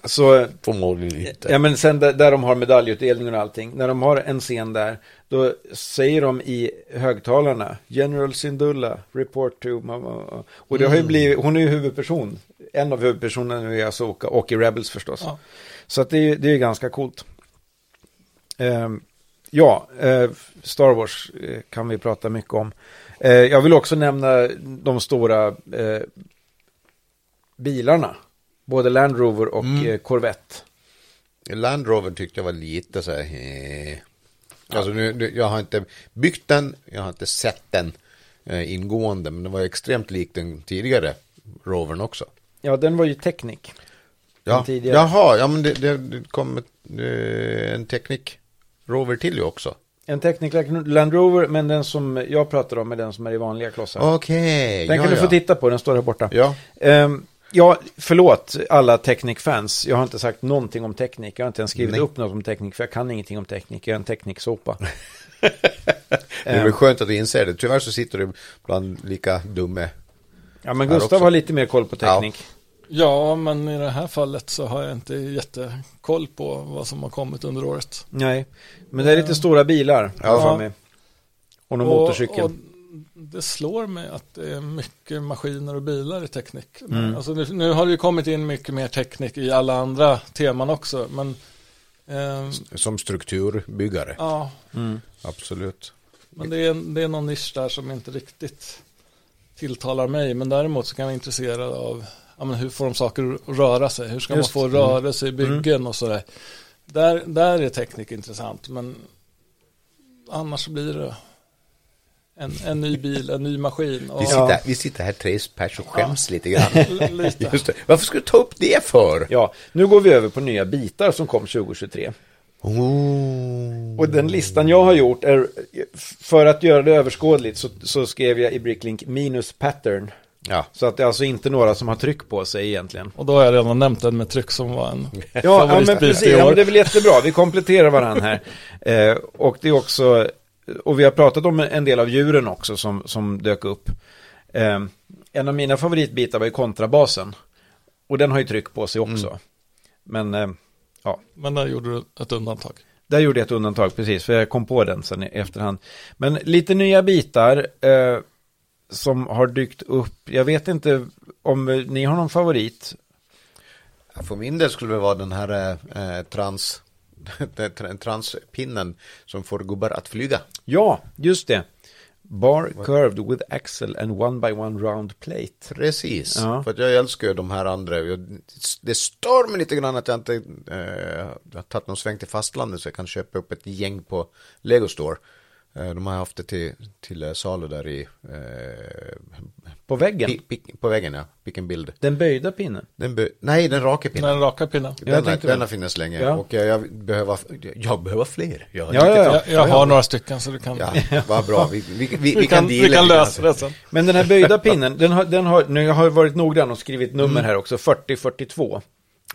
så Förmodligen inte. Ja men sen där, där de har medaljutdelningen och allting, när de har en scen där, då säger de i högtalarna General Syndulla, report to... ma- ma- ma." Och det har ju blivit, hon är ju huvudperson, en av huvudpersonerna nu i Asoka och i Rebels förstås. Ja. Så att det är ju det är ju ganska coolt. Ehm, ja, eh, Star Wars eh, kan vi prata mycket om. Eh, jag vill också nämna de stora eh, bilarna, både Land Rover och eh, Corvette. Land Rover tyckte jag var lite så här. eh. Alltså nu, nu, jag har inte byggt den, jag har inte sett den eh, ingående, men den var extremt lik den tidigare Rovern också. Ja, den var ju teknik. Ja, Den tidigare. jaha, ja men det, det, det kom ett, eh, en teknik Rover till ju också. En teknik Land Rover, men den som jag pratar om är den som är i vanliga klossar. Okej, den ja, kan du ja. få titta på, den står där borta. Ja. Ehm, ja, förlåt alla Technic-fans. Jag har inte sagt någonting om teknik. Jag har inte ens skrivit upp något om teknik, för jag kan ingenting om teknik. Jag är en Ehm, tekniksopa. Det Eh. är väl skönt att du inser det. Tyvärr så sitter du bland lika dumme. Ja, men Här Gustav också. har lite mer koll på teknik. Ja, men i det här fallet så har jag inte jättekoll på vad som har kommit under året. Nej, men det är lite stora bilar. har jag Ja. för mig. Och någon motorcykel. och det slår mig att det är mycket maskiner och bilar i teknik. Mm. Alltså, nu, nu har det ju kommit in mycket mer teknik i alla andra teman också. Men, eh, Som strukturbyggare, ja, Mm. absolut. men det, är, det är någon nisch där som inte riktigt tilltalar mig. Men däremot så kan jag vara intresserad av ja, men hur får de saker att röra sig? Hur ska Just. Mm. man få rörelse i byggen och sådär. Där, där är teknik intressant. Men annars blir det en, en ny bil, en ny maskin. Och, Vi Ja. sitter, vi sitter här tre pers och skäms lite grann. Lite. Just det. Varför ska du ta upp det för? Ja, nu går vi över på nya bitar som kom 2023. Oh. Och den listan jag har gjort är, för att göra det överskådligt så, så skrev jag i Bricklink minus pattern. Ja. Så att det är alltså inte några som har tryck på sig egentligen. Och då har jag redan nämnt den med tryck som var en Ja, ja men favoritbit precis, i ja, men år. det är väl jättebra, vi kompletterar varandra här. Eh, och det är också, och vi har pratat om en del av djuren också som, som dök upp. Eh, en av mina favoritbitar var ju kontrabasen. Och den har ju tryck på sig också. Mm. Men eh, ja, Men där gjorde du ett undantag. Där gjorde jag ett undantag, precis, för jag kom på den sen i efterhand. Men lite nya bitar eh, som har dykt upp. Jag vet inte om eh, ni har någon favorit. För min del skulle det vara den här eh, trans, den tra- transpinnen som får gubbar att flyga. Ja, just det. Bar curved with axle and one by one round plate. Precis, Ja. för att jag älskar ju de här andra. Jag, det stör mig lite grann att jag inte eh, har tagit någon sväng till fastlandet så jag kan köpa upp ett gäng på Lego Store. Eh, de har haft det till, till eh, salu där i, eh, På väggen. pi, pi, på väggen ja, pick en bild. Den böjda pinnen. Den bö- nej, den raka pinnen. Den raka pinnen. Ja, jag Den, har- tänkte den väl. har funnits länge Ja. och jag, jag, behöver, jag behöver fler. Jag har Ja, riktigt ja, bra. ja. Jag, jag har några stycken så du kan... Ja, vad bra. Vi, vi, vi, vi, vi, kan, vi deala kan lite lösa grann. det sen. Men den här böjda pinnen, den har, den har, nu jag har varit noggrann och skrivit nummer Mm. här också, 4042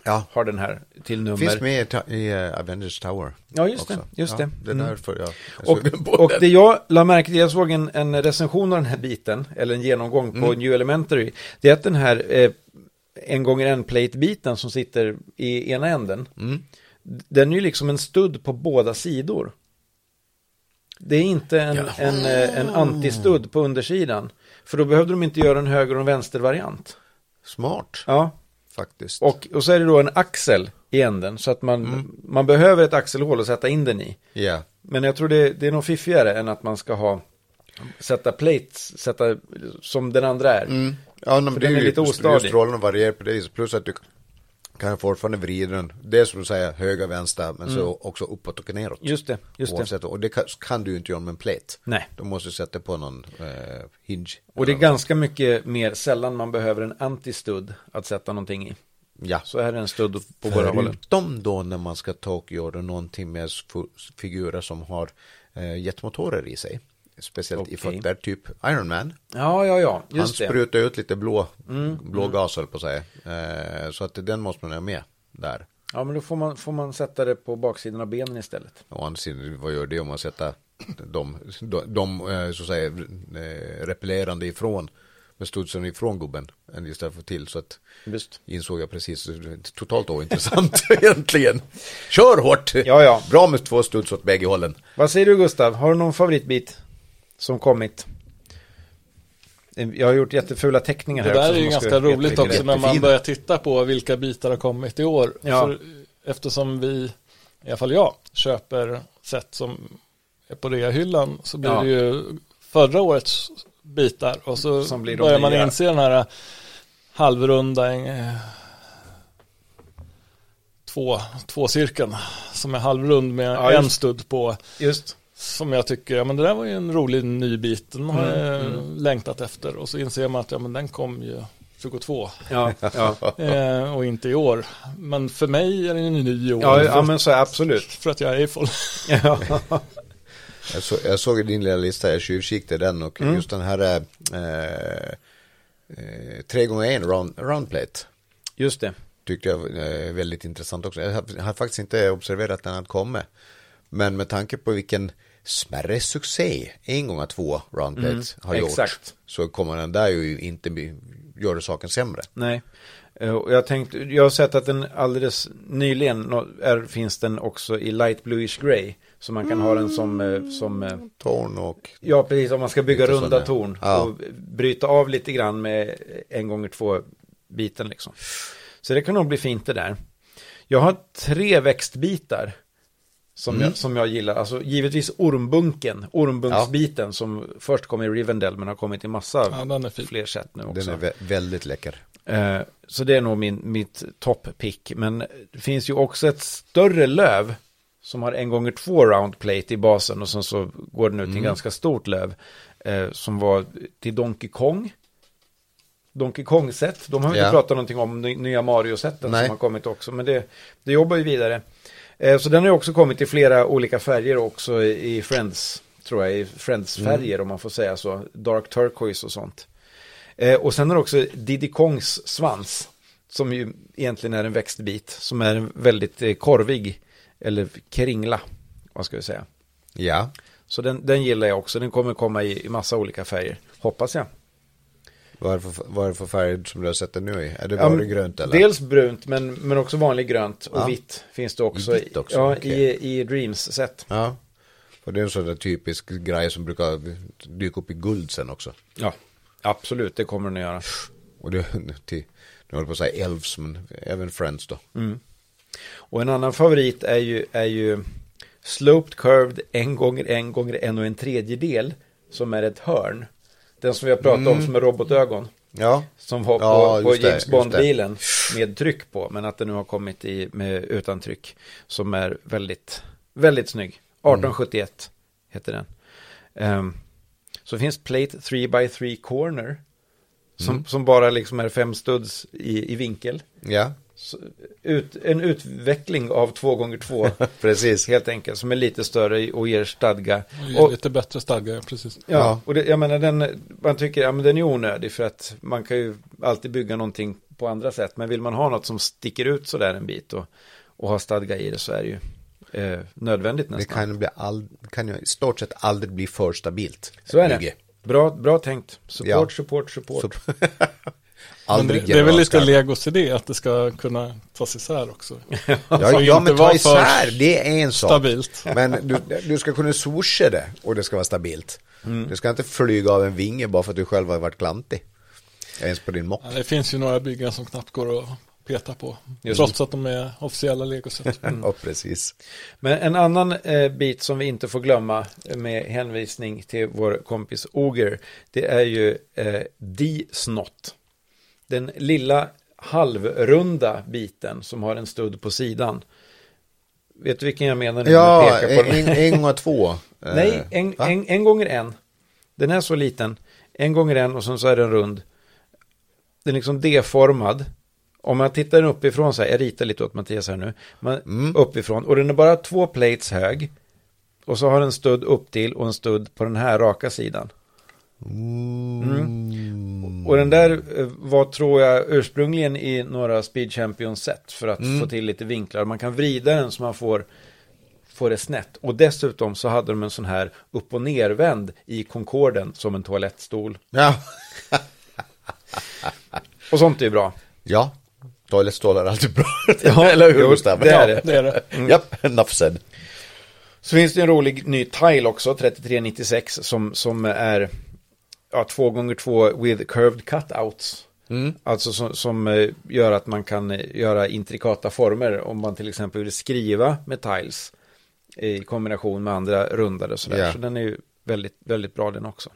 Ja, har den här till nummer. finns med i ta- i eh, Avengers Tower. Ja, just också. det, just ja, det. Det är Mm. därför jag är Och, sugen på och den. det jag la märke till, jag såg en, en recension av den här biten, eller en genomgång på New Elementary, det är att den här eh, en gånger en plate-biten som sitter i ena änden, Mm. den är ju liksom en stud på båda sidor. Det är inte en, en, eh, en antistudd på undersidan, för då behövde de inte göra en höger och en vänster-variant. Smart, Ja, faktiskt. och, och så är det då en axel i änden, så att man, man behöver ett axelhål att sätta in den i. Ja. Men jag tror det, det är nog fiffigare än att man ska ha sätta plates, sätta som den andra är. Mm. Ja, men Mm. För det är den är ju lite lite ostadig. ostadig. Strålen varierar på det viset. Plus att du kan fortfarande vrida den. Det är som du säger, höger, vänster, men så också uppåt och neråt. Mm. Just det, just det. Oavsett, och det kan, kan du ju inte göra med en plate. Nej. Då måste du sätta på någon eh, hinge. Och det är ganska mycket mer sällan man behöver en antistudd att sätta någonting i. Ja. Så här är en studd på båda hållen. Förutom då när man ska ta och göra någonting med fu- figurer som har eh, jetmotorer i sig. speciellt i Okej. fötter, typ Iron Man. Ja, ja, ja, Han just det. Mm, sprutar ut lite blå, blå gas höll på sig. Eh, så att den måste man ha med där. Ja, men då får man, får man sätta det på baksidan av benen istället. Å andra sidan, vad gör det om man sätter de, de, de eh, så att säga, eh, repellerande ifrån, med studsen ifrån gubben, än istället för till. Så att, Just. insåg jag precis, totalt ointressant egentligen. Kör hårt! Ja, ja. Bra med två studs åt bägge hållen. Vad säger du Gustav? Har du någon favoritbit som kommit? Jag har gjort jättefula teckningar Det här där också är som ju man ska- ganska roligt jättegrejt. också när man jättefin. börjar titta på vilka bitar har kommit i år. Ja. För, eftersom vi, i alla fall jag, köper set som är på reahyllan så blir Ja. det ju förra årets bitar och så Som blir de börjar man nya. inse den här eh, halvrunda eh, två, två cirkeln som är halvrund med Ja, en just. studd på Just. som jag tycker, ja men det där var ju en rolig ny bit, den har Mm, jag längtat efter. Och så inser man att ja, men den kom ju 22 Ja, ja. eh, och inte i år. Men för mig är den ju ny i år, Ja, för, ja, men så är absolut. för att jag är Eiffel. Ja, Jag, så, jag såg i din lilla lista, jag tjuvkikade den och just den här eh, eh, 3x1 round, roundplate just det. tyckte jag eh, väldigt intressant också. Jag har, jag har faktiskt inte observerat att den hade kommit. Men med tanke på vilken smärre succé en gång av två roundplates har gjort Mm. exakt. så kommer den där ju inte bli- göra saken sämre. Nej. Eh, och Jag, tänkte, jag har sett att den alldeles nyligen nå- är, finns den också i light bluish grey. Så man kan ha den som, eh, som eh, Torn och Ja, precis. Om man ska bygga Lite så runda där. torn Ja. och bryta av lite grann med en gånger två biten liksom. Så det kan nog bli fint det där. Jag har tre växtbitar som, Mm. jag, som jag gillar. Alltså givetvis ormbunken, ormbunksbiten som först kom i Rivendell men har kommit i massa Ja, den är fin. fler sätt nu också. typ. Den är vä- väldigt läcker. Eh, Så det är nog min, mitt topppick. Men det finns ju också ett större löv som har en gånger två round plate i basen och sen så går den ut till en ganska stort löv eh, som var till Donkey Kong. Donkey Kong-set, de har vi Ja. inte pratat någonting om, ny- nya Mario-seten Nej. som har kommit också, men det, det jobbar ju vidare. Eh, Så den har ju också kommit i flera olika färger också i i Friends, tror jag, i Friends-färger om man får säga så, Dark Turquoise och sånt. Eh, och sen är det också Diddy Kongs svans, som ju egentligen är en växtbit, som är en väldigt eh, korvig, eller kringla, vad ska vi säga. Ja, Så den, den gillar jag också, den kommer komma i, i massa olika färger, hoppas jag. vad är det för, vad är det för färg som du har sett den nu i? Är det Ja, bara men grönt eller? Dels brunt, men, men också vanlig grönt och Ja. vitt finns det också. Vitt också, ja, okej. i, i Dreams-set. Ja, och det är en sån där typisk grej som brukar dyka upp i guld sen också. Ja, absolut, det kommer den att göra. Och det till, nu håller jag på att säga Elves, men även Friends då. Mm. Och en annan favorit är ju, är ju Sloped Curved en gånger en gånger en och en tredjedel som är ett hörn. Den som vi har pratat Mm. om som är robotögon. Ja, Som var på, Ja, på just det, James just Bond-bilen med tryck på. Men att den nu har kommit i, med, utan tryck. Som är väldigt, väldigt snygg. Mm. 1871 heter den. Ehm, så finns Plate 3x3 Corner. Som, Mm. som bara liksom är fem studs i, i vinkel. ja, Så, ut, en utveckling av 2x2 precis. helt enkelt, som är lite större och ger stadga. Och, Och, ja, lite bättre stadga, precis. Ja. och det, jag menar, den, man tycker ja, men den är onödig för att man kan ju alltid bygga någonting på andra sätt. Men vill man ha något som sticker ut sådär en bit och, och ha stadga i det så är det ju eh, nödvändigt Det nästan. kan, bli all, kan ju i stort sett aldrig bli för stabilt. så är Bygge. det. Bra, bra tänkt. Support, Ja. support, support. Så- Men det, aldrig det är väl lite generalskarpt. Legos idé att det ska kunna tas isär också. Ja, Alltså, ja inte men ta vara för isär, det är en sak. stabilt. Men du, du ska kunna swoosha det och det ska vara stabilt. Mm. Du ska inte flyga av en vinge bara för att du själv har varit klantig. Ens på din mopp. Ja, det finns ju några byggen som knappt går att peta på. Just. Trots att de är officiella Lego-set. Mm. Ja, precis. Men en annan eh, bit som vi inte får glömma eh, med hänvisning till vår kompis Oger, det är ju eh, D-snott. Den lilla halvrunda biten som har en studd på sidan. Vet du vilken jag menar nu? när jag Ja, pekar på den? en, en gång två. Eh, Nej, en, va? en, en gånger en. Den är så liten. En gånger en och sen så är den rund. Den är liksom D-formad. Om man tittar den uppifrån Mm. så här, jag ritar lite åt Mattias här nu. Man, Uppifrån, och den är bara två plates hög. Och så har den stöd upp till och en stöd på den här raka sidan. Och den där eh, var, tror jag, ursprungligen i några Speed Champions-set för att Mm. få till lite vinklar. Man kan vrida den så man får, får det snett. Och dessutom så hade de en sån här upp och nervänd i Concorden som en toalettstol. Ja, Och sånt är ju bra. ja. toalettstålar är alltid bra. Eller hur jo, Gustav? det är Ja. det. Det är det. Mm. Japp, enough said. Så finns det en rolig ny tile också, 3396, som, som är ja, 2x2 with curved cutouts. Alltså som, som eh, gör att man kan eh, göra intrikata former om man till exempel vill skriva med tiles i kombination med andra rundade sådär. Ja. Så den är ju väldigt, väldigt bra den också.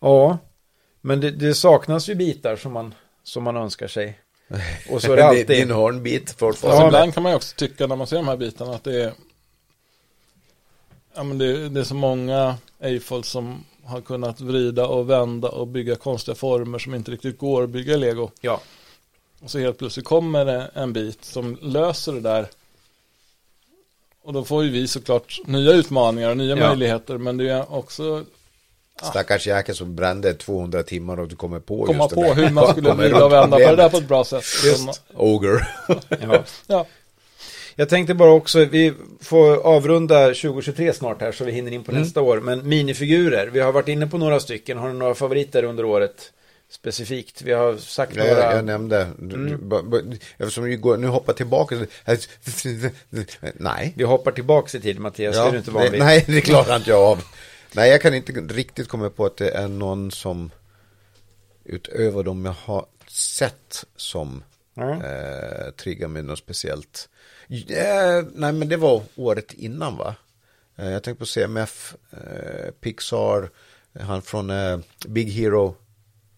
Ja, men det, det saknas ju bitar som man, som man önskar sig. Och så är det alltid... Din hornbit Fast fortfarande. Alltså, ibland kan man ju också tycka när man ser de här bitarna att det är Ja men det, det är så många Eiffel som har kunnat vrida och vända och bygga konstiga former som inte riktigt går att bygga i lego. Ja, Och så helt plötsligt kommer det en bit som löser det där. Och då får ju vi såklart nya utmaningar och nya Ja. möjligheter. Men det är också Stackars jäkel som brände 200 timmar och du kommer på komma just på det där. hur man skulle Kommer vrida runt och vända på det där problemet. på ett bra sätt. Som- Ogre. ja. Ja, Jag tänkte bara också, vi får avrunda 2023 snart här så vi hinner in på nästa år. Men minifigurer, vi har varit inne på några stycken. Har ni några favoriter under året specifikt? Vi har sagt Ja, några. jag, jag nämnde, Du- Mm. du- ba- ba- eftersom vi går, nu hoppar tillbaka, nej. Vi hoppar tillbaka i tid Mattias, det är du inte van nej, vid. nej, det klarar inte jag av. Nej, jag kan inte riktigt komma på att det är någon som utöver dem jag har sett som Mm. eh, triggar mig något speciellt. Eh, nej, men det var året innan va? Eh, jag tänkte på CMF, eh, Pixar, han från eh, Big Hero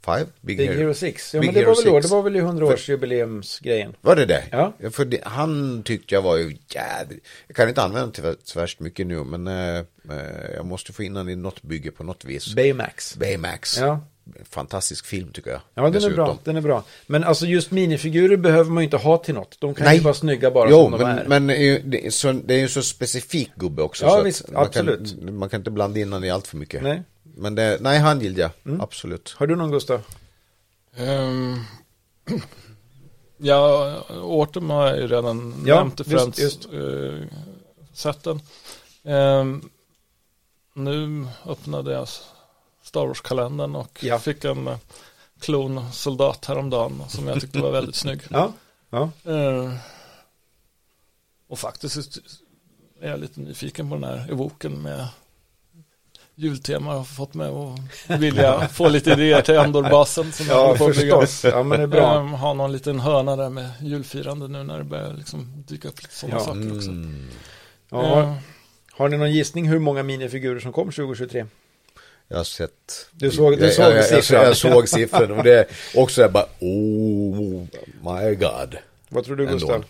5? Big Hero 6, ja, Big men det Hero var, väl år, det 6. var väl i 100-årsjubileumsgrejen. Var det det? Ja. För det, han tyckte jag var ju jädrigt... Jag kan inte använda det så värst mycket nu, men eh, eh, jag måste få in den i något bygge på något vis. Baymax. Baymax. Ja. Fantastisk film tycker jag. Ja, den är bra. Den är bra. Men alltså just minifigurer behöver man ju inte ha till något. De kan ju vara snygga bara jo, som de men, är. men eh, det, är så, det är ju så specifik gubbe också. Ja, så att visst, man absolut. Kan, man kan inte blanda in den i allt för mycket. Nej. Mm. Men det, nej, han gillade jag. Absolut. Har du någon Gustav? Ehm, ja, Autumn har jag ju redan Ja, nämnt i just- Friends just. eh, sätten. Ehm, nu öppnade jag Star Wars-kalendern och Ja. fick en eh, klonsoldat häromdagen som jag tyckte var väldigt snygg. Ja. ja. Ehm, och faktiskt är jag lite nyfiken på den här evoken med jultema. Jag har fått mig att vilja få lite idéer till Endor-basen som jag Ja, håller på att bygga. förstås. Ja, men det är bra. Ehm, ha någon liten hörna där med julfirande nu när det börjar liksom dyka upp lite sådana Ja. Mm. saker också. Ja. Ehm, Har ni någon gissning hur många minifigurer som kom 2023? Jag har sett... Du såg- du jag, såg jag, jag, jag, siffran. jag såg siffran och det är också jag bara, oh my god. Vad tror du Ändå. Gustav?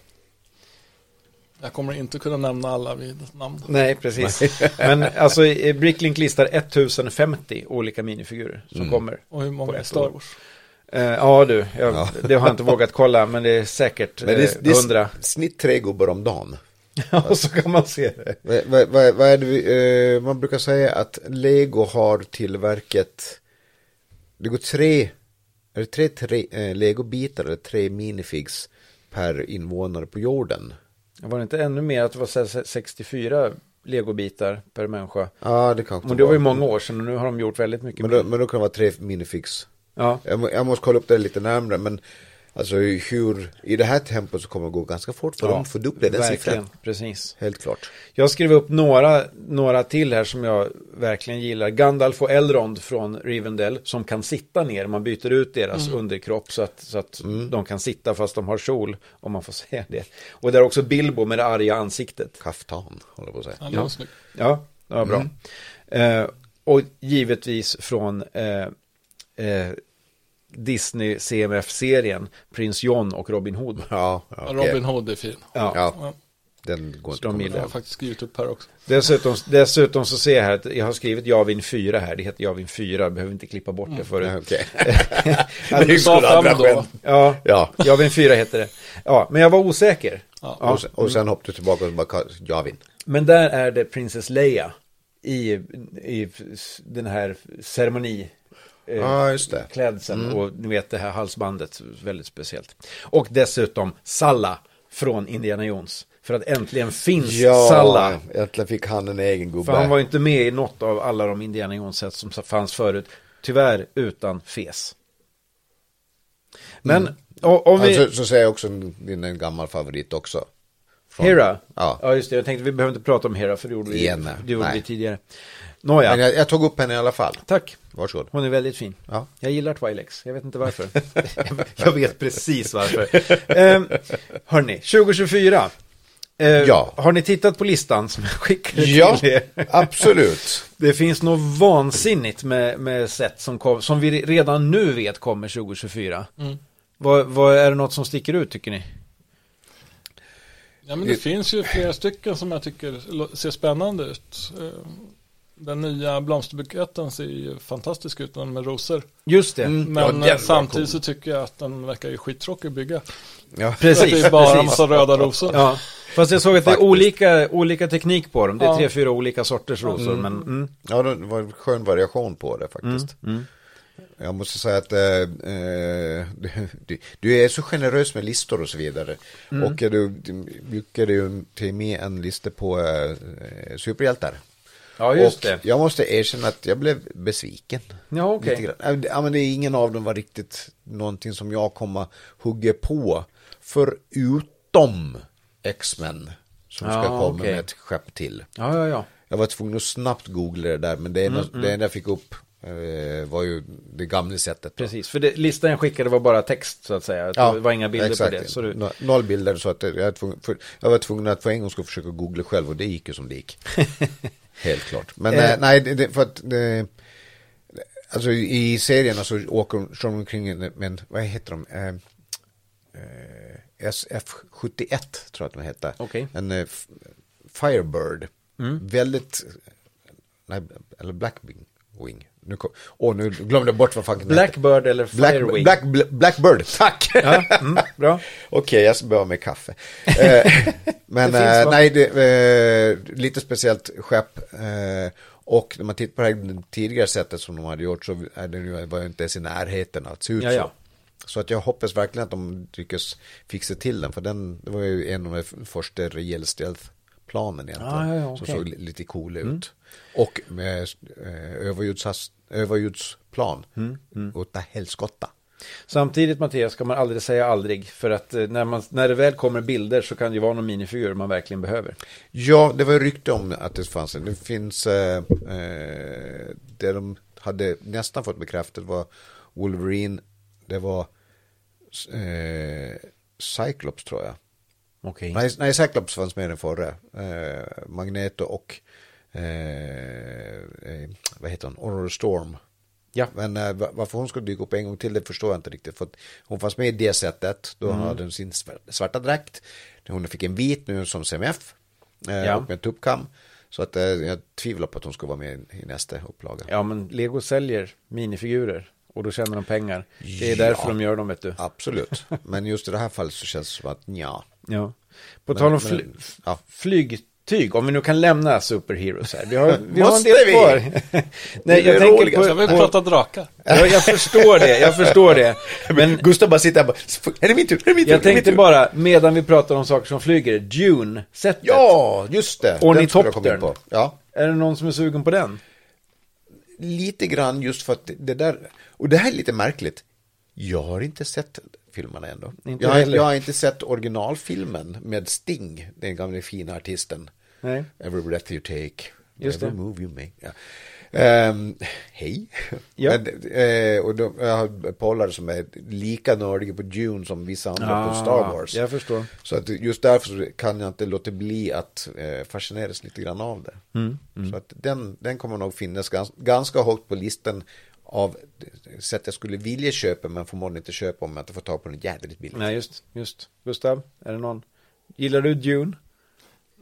jag kommer inte kunna nämna alla vid ett namn. Nej, precis. Men alltså eh, Bricklink listar 1050 olika minifigurer som Mm. kommer. Och hur På många är ett Star år. Wars? Eh, ja du, jag, Ja. det har jag inte vågat kolla men det är säkert Men det, det eh, 100. är snitt tre gubbar om dagen. Ja, så kan man se det. Vad, vad, vad, vad är det vi, eh, man brukar säga att Lego har tillverkat, det går tre, är det tre, tre eh, Lego-bitar eller tre minifigs per invånare på jorden? Var det inte ännu mer att det var så här 64 legobitar per människa? Ja, det kanske Men det var ju många år sedan och nu har de gjort väldigt mycket. Men då, men då kan det vara tre minifigs. Ja. Jag, må- jag måste kolla upp det lite närmare, men alltså hur, i det här tempot så kommer det gå ganska fort för de fördubblar den verkligen, siffran. precis. Helt klart. Jag skrev upp några, några till här som jag verkligen gillar. Gandalf och Elrond från Rivendell som kan sitta ner. Man byter ut deras underkropp så att, så att de kan sitta fast de har kjol, om man får säga det. Och där också Bilbo med det arga ansiktet. Kaftan, håller jag på att säga. Ja, det var snyggt. Ja, det var bra. Eh, och givetvis från eh, eh, Disney CMF-serien, Prins John och Robin Hood. Ja, ja, okej. Robin Hood är fin. Ja. Ja, den går de gillar inte att Jag har kombinera. faktiskt Youtube här också. Dessutom, dessutom så ser jag här att jag har skrivit Javin 4 här. Det heter Javin 4, behöver inte klippa bort det förut. Ja, Okej. Du Det sa skulle andra fram då. skämt. Ja, Ja. Javin 4 heter det. Ja, men jag var osäker. Ja. Ja. Och sen, och sen hoppade du tillbaka och bara, Javin. Men där är det Princess Leia i, i den här ceremoni. eh, Ja, just det. klädseln och ni vet det här halsbandet, väldigt speciellt. Och dessutom Salla från Indiana Jones. För att äntligen finns Salla. äntligen fick han en egen gubbe. För han var ju inte med i något av alla de Indiana Jones-set som fanns förut. Tyvärr utan fes. Men o- om vi... Mm. alltså, så säger jag också en, din- en gammal favorit också. Från- Hera? Ja. just det. Jag tänkte vi behöver inte prata om Hera för det gjorde vi, Igen, det gjorde nej. vi tidigare. Nåja, Men jag, jag tog upp henne i alla fall. tack. Varsågod. Hon är väldigt fin. Ja. Jag gillar Twilex, jag vet inte varför. jag vet precis varför. Eh, hörni, 2024. Eh, Ja. Har ni tittat på listan som jag skickade Ja, till er? absolut. Det finns något vansinnigt med, med sätt som, kom, som vi redan nu vet kommer 2024. Vad, vad är det något som sticker ut tycker ni? Ja, men det finns ju flera stycken som jag tycker lo- ser spännande ut. Eh, Den nya blomsterbuketten ser ju fantastisk ut, den med rosor. Just det. Ja, Men den var eh, samtidigt cool. så tycker jag att den verkar ju skittråkig att bygga. Ja. För att det Precis. är bara en precis. massa röda rosor. Ja. Fast jag såg att det är Faktiskt. olika, olika teknik på dem. Det är Ja. tre, fyra olika sorters rosor. Men, mm. Ja, det var en skön variation på det faktiskt. Jag måste säga att eh, eh, du, du är så generös med listor och så vidare. Mm. Och eh, du, du brukar ju till med en lista på eh, superhjältar. Ja, just och det. jag måste erkänna att jag blev besviken. Ja, okej. Lite grann. Ja, men det är ingen av dem var riktigt någonting som jag kommer hugga på. Förutom X-Men. Som ska Ja, komma okej. med ett skepp till. Ja, ja, ja. Jag var tvungen att snabbt googla det där, men det enda, det enda jag fick upp eh, var ju det gamla sättet. då. Precis. För det, listan jag skickade var bara text så att säga. Ja, det var inga bilder exakt. på det. Så du... No- Noll bilder, så att jag, var tvungen, för, jag var tvungen att för en gång skulle försöka googla själv och det gick ju som det gick. Helt klart. Men Eh. eh, nej, det, det, för att... Det, alltså i i serierna så åker de kör de omkring en- med en, vad heter de? Eh, eh, SF71 tror jag att de hette. Okej. Mm. En eh, f- Firebird. Väldigt... Nej, eller Blackwing. Wing. Nu, kom- åh, nu glömde jag bort vad fan den hette. Blackbird eller Black, Firewing. Black, Black, Blackbird, tack! Ja, mm, bra. Okej, jag ska börja med kaffe. Eh, men Det finns, eh, va? nej, det, eh, lite speciellt skepp. Eh, och när man tittar på det här tidigare sättet som de hade gjort så är det nu, var jag inte ens i närheten att se ut Ja, ja. så. Så att jag hoppas verkligen att de lyckas fixa till den. För den det var ju en av de f- första rejäl stealth-planen egentligen. Ah, ja, ja, Som okej. Mm. såg li- lite cool ut. Och med eh, överljudsas- överljudsplan. Mm, Åtta helskotta. Samtidigt Mattias ska man aldrig säga aldrig. För att eh, när, man, när det väl kommer bilder så kan det ju vara någon minifigur man verkligen behöver. Ja, det var ju rykte om att det fanns en. Det finns, eh, eh, det de hade nästan fått bekräftat var Wolverine, det var eh, Cyclops tror jag. Okej. Nej, nej, Cyclops fanns med i den förra. Eh, Magneto och, eh, eh, vad heter hon, Aurora Storm. Ja. Men eh, va- varför hon skulle dyka upp en gång till, det förstår jag inte riktigt. För att hon fanns med i det sättet, då Mm. hade hon sin svär- svarta dräkt. Hon fick en vit nu som CMF, eh, Ja. och med en tuppkam. Så att eh, jag tvivlar på att hon skulle vara med i nästa upplaga. Ja, men Lego säljer minifigurer. Och då tjänar de pengar. Det är därför Ja. de gör dem, vet du. Absolut, men just i det här fallet så känns det som att ja. Ja. På Men- tal om men- fly- ja. flygtyg, om vi nu kan lämna superheroes här. Vi har, vi har en Måste del vi? kvar. Nej, Det är jag tänker roligast. på... Jag vill på prata drakar. jag, jag förstår det, jag förstår det. Men Gustav bara sitter här och bara, är det min tur? Är det min tur? Är jag det min tänkte tur?" bara, medan vi pratar om saker som flyger, Dune-sättet. Ja, just det. Den skulle jag komma in Ornitoptern. på. Ja, Är det någon som är sugen på den? lite grann just för att det där, och det här är lite märkligt. Jag har inte sett filmerna ändå. Inte jag, har- heller. jag har inte sett originalfilmen med Sting, den gamle fina artisten. Nej. Every breath you take, Just every det. move you make. Ja. Ehm, Hej. Ja. Men, eh, och de, jag har polare som är lika nördiga på Dune som vissa andra på Ah, Star Wars. jag förstår. Så att just därför så kan jag inte låta bli att eh, fascineras lite grann av det. Mm, Så att den, den kommer nog finnas gans, ganska högt på listan av eh, sätt jag skulle vilja köpa men förmodligen inte köpa om jag inte får tag på den jävligt billigt. Nej, just, just. Gustav, är det någon? Gillar du Dune?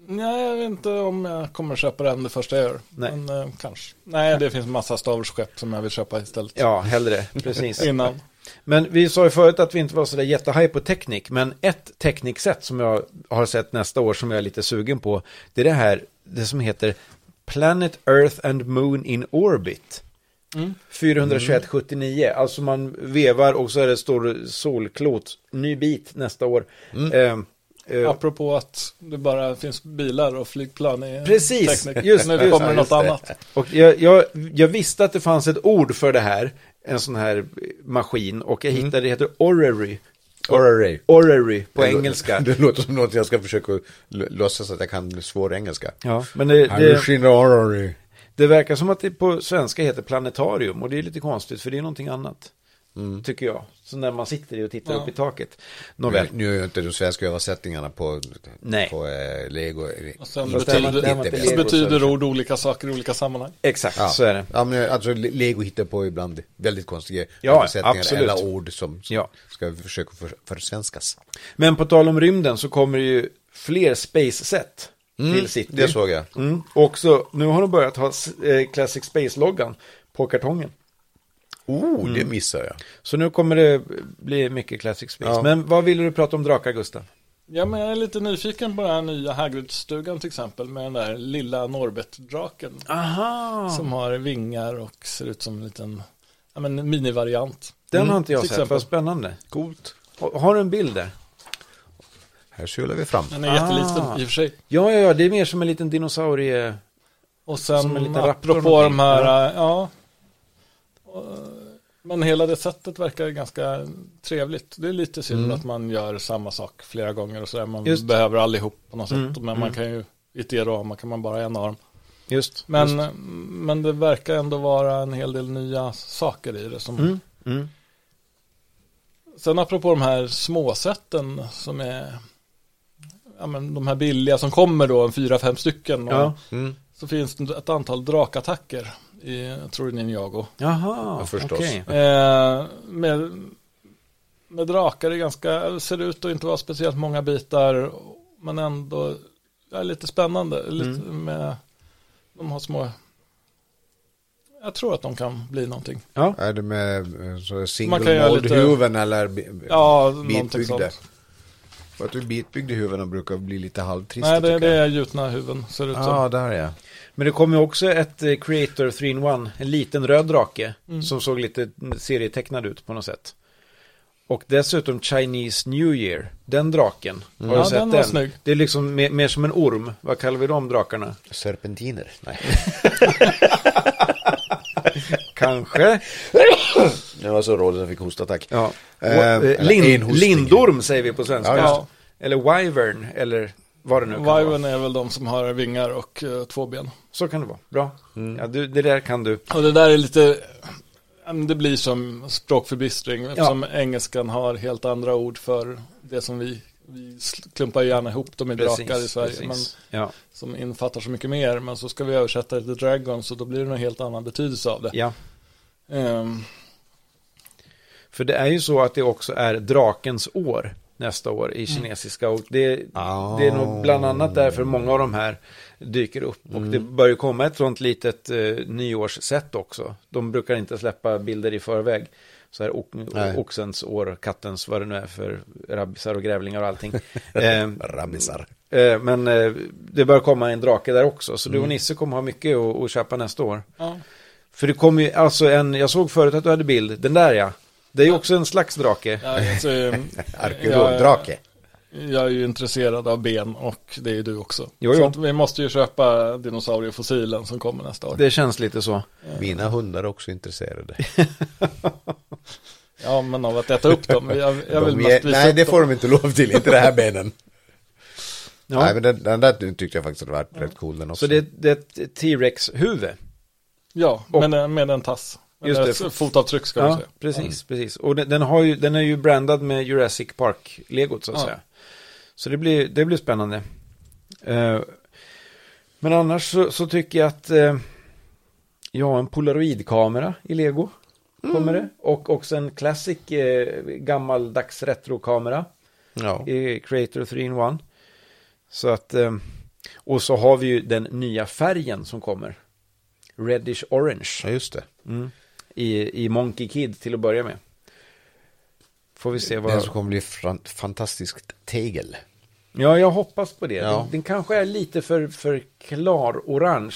Nej, jag vet inte om jag kommer köpa den det första jag gör. Nej. Men eh, kanske. Nej, det finns massa Star Wars-skepp som jag vill köpa istället. Ja, hellre. Precis. Innan. Men vi sa ju förut att vi inte var så där jättehaj på teknik, men ett tekniksätt som jag har sett nästa år som jag är lite sugen på, det är det här, det som heter Planet Earth and Moon in Orbit. Mm. 421,79, alltså man vevar och så är det står solklot, ny bit nästa år. Mm. Eh, eh, Apropå att det bara finns bilar och flygplan i Precis, teknik. just- nu just- kommer ja, något just det. annat. Och jag, jag, jag visste att det fanns ett ord för det här, en sån här maskin, och jag Mm. hittade, det heter orrery. Orrery. Orrery på Det lå- engelska. Det låter som något jag ska försöka l- låtsas att jag kan svår engelska. Ja, men det, det, Hallucina orrery. det verkar som att det på svenska heter planetarium och det är lite konstigt för det är någonting annat. Mm. Tycker jag. Så när man sitter i och tittar Ja. upp i taket. Nåväl, Nu är ju inte de svenska översättningarna på, Nej. på eh, lego. Och sen Fast det var- det var betyder, inte Inte Lego. så bäst. betyder ord olika saker i olika sammanhang. exakt Ja. så är det. Ja, men alltså le- lego hittar på ibland väldigt konstiga Ja, översättningar absolut. eller ord som som Ja. ska försöka för, försvenskas. Men på tal om rymden så kommer det ju fler space-set till City. Mm, Det såg jag. Mm. Och så, nu har de börjat ha eh, Classic Space-loggan på kartongen. Oh, Mm. det missade jag. Så nu kommer det bli mycket Classic Space. Ja. Men vad ville du prata om drakar, Gustav? Ja, men jag är lite nyfiken på den här nya Hagrid-stugan till exempel med den där lilla Norbert-draken Aha! som har vingar och ser ut som en liten ja, men minivariant. Den har inte jag Mm, till sett, exempel. vad spännande. Coolt. Ha- Har du en bild där? Här sular vi fram. Den är Ah. jätteliten i och för sig. Ja, ja, ja, det är mer som en liten dinosaurie... Och Som en sen liten raptor apropå någonting, de här, eller? ja. ja. Och, eh, Men hela det sättet verkar ganska trevligt. Det är lite synd att man gör samma sak flera gånger och sådär. Man Mm. Just. behöver allihop på något sätt. Mm, Men man kan ju, i ett diorama kan man bara ha en arm. Just. Men, Just. men det verkar ändå vara en hel del nya saker i det. Som... Mm. Mm. Sen apropå de här småsätten som är ja, men de här billiga som kommer då, en fyra, fem stycken. Och Ja. Mm. Så finns det ett antal drakattacker i, jag tror det är Ninjago. Jaha, Ja, förstås. okej. Eh, med, med drakar är ganska, ser ut att inte vara speciellt många bitar. Men ändå ja, lite spännande. Lite med, de har små, jag tror att de kan bli någonting. Ja. Är det med eh, så Man kan göra single lite- mode-huvuden eller bi- Ja, någonting bitbyggda? sånt. För att du bitbyggda huvuden brukar bli lite halvtrista. Nej, det, tycker det jag. är gjutna huvuden ser det ut som. Ja, där ja. Men det kom ju också ett eh, Creator 3-in-1, en liten röd drake, som såg lite serietecknad ut på något sätt. Och dessutom Chinese New Year, den draken. Har Ja, du sett den den? var snygg. Det är liksom mer, mer som en orm. Vad kallar vi de drakarna? Serpentiner. Nej. Kanske. Det var så roligt att jag fick hostattack. Ja. Eh, Och, eh, eller lind, enhostning. lindorm säger vi på svenska. Ja, just det. Eller wyvern, eller vad det nu kan vara. Wyvern är väl de som har vingar och eh, två ben. Så kan det vara. Bra. Mm. Ja, du, det där kan du. Och det där är lite, ja, men det blir som språkförbistring eftersom engelskan har helt andra ord för det som vi, vi sl- klumpar ju gärna ihop dem i drakar i Sverige. Men, precis. Ja. som innefattar så mycket mer, men så ska vi översätta det till Dragons och då blir det en helt annan betydelse av det. ja, Ehm, för det är ju så att det också är drakens år nästa år Mm. i kinesiska. Och det, Ah. det är nog bland annat därför många av de här dyker upp. Och det Mm. börjar ju komma ett sånt litet eh, nyårssätt också. De brukar inte släppa bilder i förväg. Så här o- Nej. oxens år, kattens, vad det nu är för rabbisar och grävlingar och allting. Eh, Rabbisar. Eh, Men eh, det bör komma en drake där också. Så du Mm. och Nisse kommer ha mycket att, att köpa nästa år. ja. För det kommer ju, alltså en, jag såg förut att du hade bild, den där ja. Det är ju också en slags drake. Ja, alltså, ehm, Arkeologdrake. Jag, jag är ju intresserad av ben och det är du också. Jo, Så jo. att vi måste ju köpa dinosauriefossilen som kommer nästa år. Det känns lite så. Mina hundar är också intresserade. Ja, men av att äta upp dem. Jag, jag vill De mest är, visa nej, upp det dem. får de inte lov till. Inte det här benen. Ja. Nej, men den, den där tyckte jag faktiskt hade varit rätt cool den också. Så det, det är ett T-Rex-huvud. Ja, Och- men eh, med en tass. Just Eller det, ett fot- Fotavtryck ska man Ja, säga. Mm. precis, precis. Och den, den, har ju, den är ju brandad med Jurassic Park-legot så att Ja. säga. Så det blir, det blir spännande. Eh, men annars så, så tycker jag att eh, ja, en polaroidkamera i lego kommer det. Och också en classic eh, gammaldags retrokamera Ja. i Creator 3 in 1. Så att eh, Och så har vi ju den nya färgen som kommer. Reddish orange Ja, just det. Mm. i, i Monkey Kid till att börja med. Får vi se Den vad... som kommer bli fran- fantastiskt tegel. Ja, jag hoppas på det. Ja. Den, den kanske är lite för, för klar orange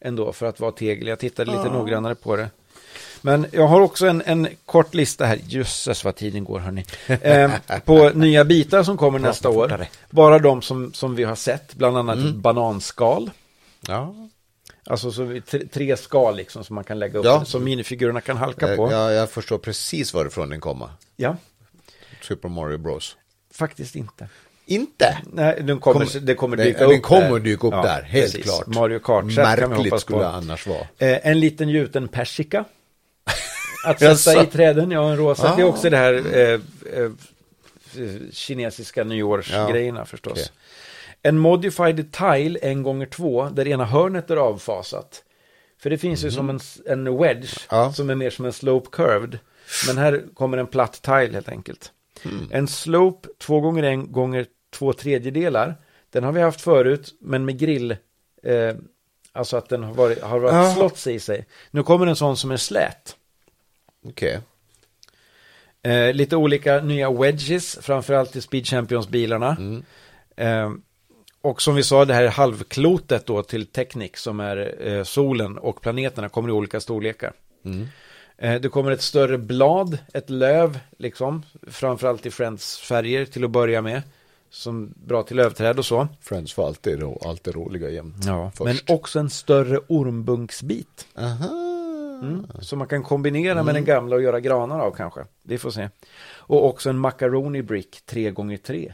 ändå för att vara tegel. Jag tittade lite noggrannare på det. Men jag har också en, en kort lista här. Jösses vad tiden går hörni. Eh, på nya bitar som kommer nästa år. fortare. Mm. Bara de som, som vi har sett, bland annat bananskal. Ja, Alltså så, vi- tre, tre skal liksom som man kan lägga upp, Ja. Eh, som minifigurerna kan halka på. jag, jag, jag förstår precis varifrån den kommer. ja, Super Mario Bros. faktiskt inte. Inte! Nej, den kommer, Kom- det kommer den- dyka den upp kommer dyka upp där, helt klart. Mario kart set kan vi Märkligt hoppas skulle på. det annars vara. Eh, en liten gjuten persika. Att Jaså? sätta i träden, ja en rosa. Det är Ah. också det här eh, eh, kinesiska nyårsgrejerna förstås. okej. En modified tile en gånger två, där ena hörnet är avfasat. För det finns ju som en, s- en wedge, Mhm. Ja. som är mer som en slope curved. Men här kommer en platt tile helt enkelt. Mm, En slope två gånger en gånger två tredjedelar. Den har vi haft förut, men med grill. Eh, alltså att den har varit, har varit Ja. slots i sig. Nu kommer en sån som är slät. Okej. Eh, lite olika nya wedges, framförallt till Speed Champions-bilarna. Eh, och som vi sa, det här halvklotet då till Technic som är eh, solen och planeterna kommer i olika storlekar. Eh, det kommer ett större blad, ett löv, liksom, framförallt i Friends färger till att börja med. Som bra till lövträd och så. Friends var alltid, ro, alltid roliga jämt. Men först. också en större ormbunksbit. Aha. Som man kan kombinera Mm. med den gamla och göra granar av kanske. Vi får se. Och också en macaroni brick 3x3.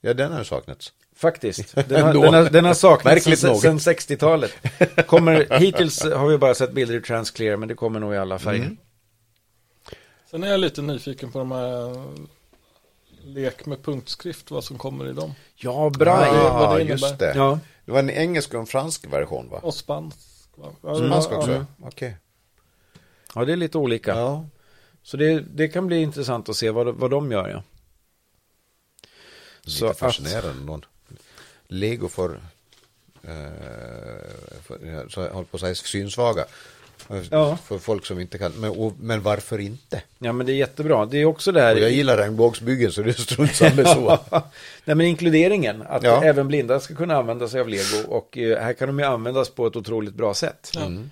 Ja, den har saknats. Faktiskt. Den har, Ändå. den har, den har saknats Märkligt sen, nog. sen 60-talet. Kommer, hittills har vi bara sett bilder i Transclear, men det kommer nog i alla färger. Mm. Sen är jag lite nyfiken på de här eh, lek med punktskrift, vad som kommer i dem. Ja, bra. det- vad ah, det innebär. just det. Ja. Det var en engelsk och en fransk version va? Och spansk. va? Ja, Mm. Fransk ja, också? ja. Okej. ja, det är lite olika. Ja. Så det, det kan bli intressant att se vad, vad de gör. Ja. Så Lite att- fascinerande någon. Lego för, eh, för jag så jag håller på att säga synsvaga. Ja. För folk som inte kan. Men, och, men varför inte? ja, men det är jättebra. Det är också det här. Och jag gillar regnbågsbyggen så det är strunt samma så. Nej, men inkluderingen, att Ja. även blinda ska kunna använda sig av lego och eh, här kan de ju användas på ett otroligt bra sätt. Ja. Så Mm.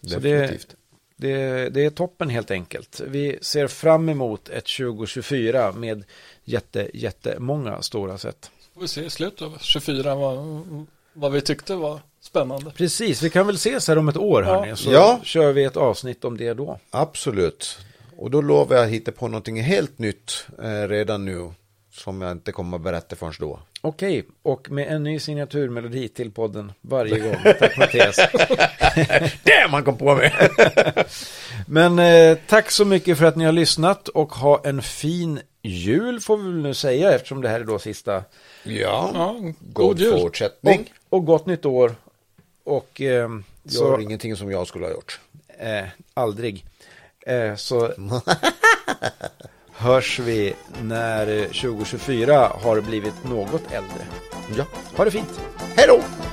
Definitivt. Det, det, det är toppen helt enkelt. Vi ser fram emot ett 2024 med jätte, jättemånga stora sätt. Får vi se i slutet av 24 vad, vad vi tyckte var spännande. Precis, vi kan väl ses här om ett år Ja. hörni, så Ja. kör vi ett avsnitt om det då. Absolut. Och då lovar jag att hitta på någonting helt nytt eh, redan nu. Som jag inte kommer att berätta förrän då. Okej, och med en ny signaturmelodi till podden varje gång. Tack Mattias. Det man kom på med! Men eh, tack så mycket för att ni har lyssnat och ha en fin jul får vi väl nu säga eftersom det här är då sista. ja. Ja, god, God jul. Och, fortsättning. och gott nytt år. Och ehm, Gör så ingenting som jag skulle ha gjort. eh, aldrig. Eh, så hörs vi när eh, 2024 har blivit något äldre. Ja. Ha det fint! Hej då!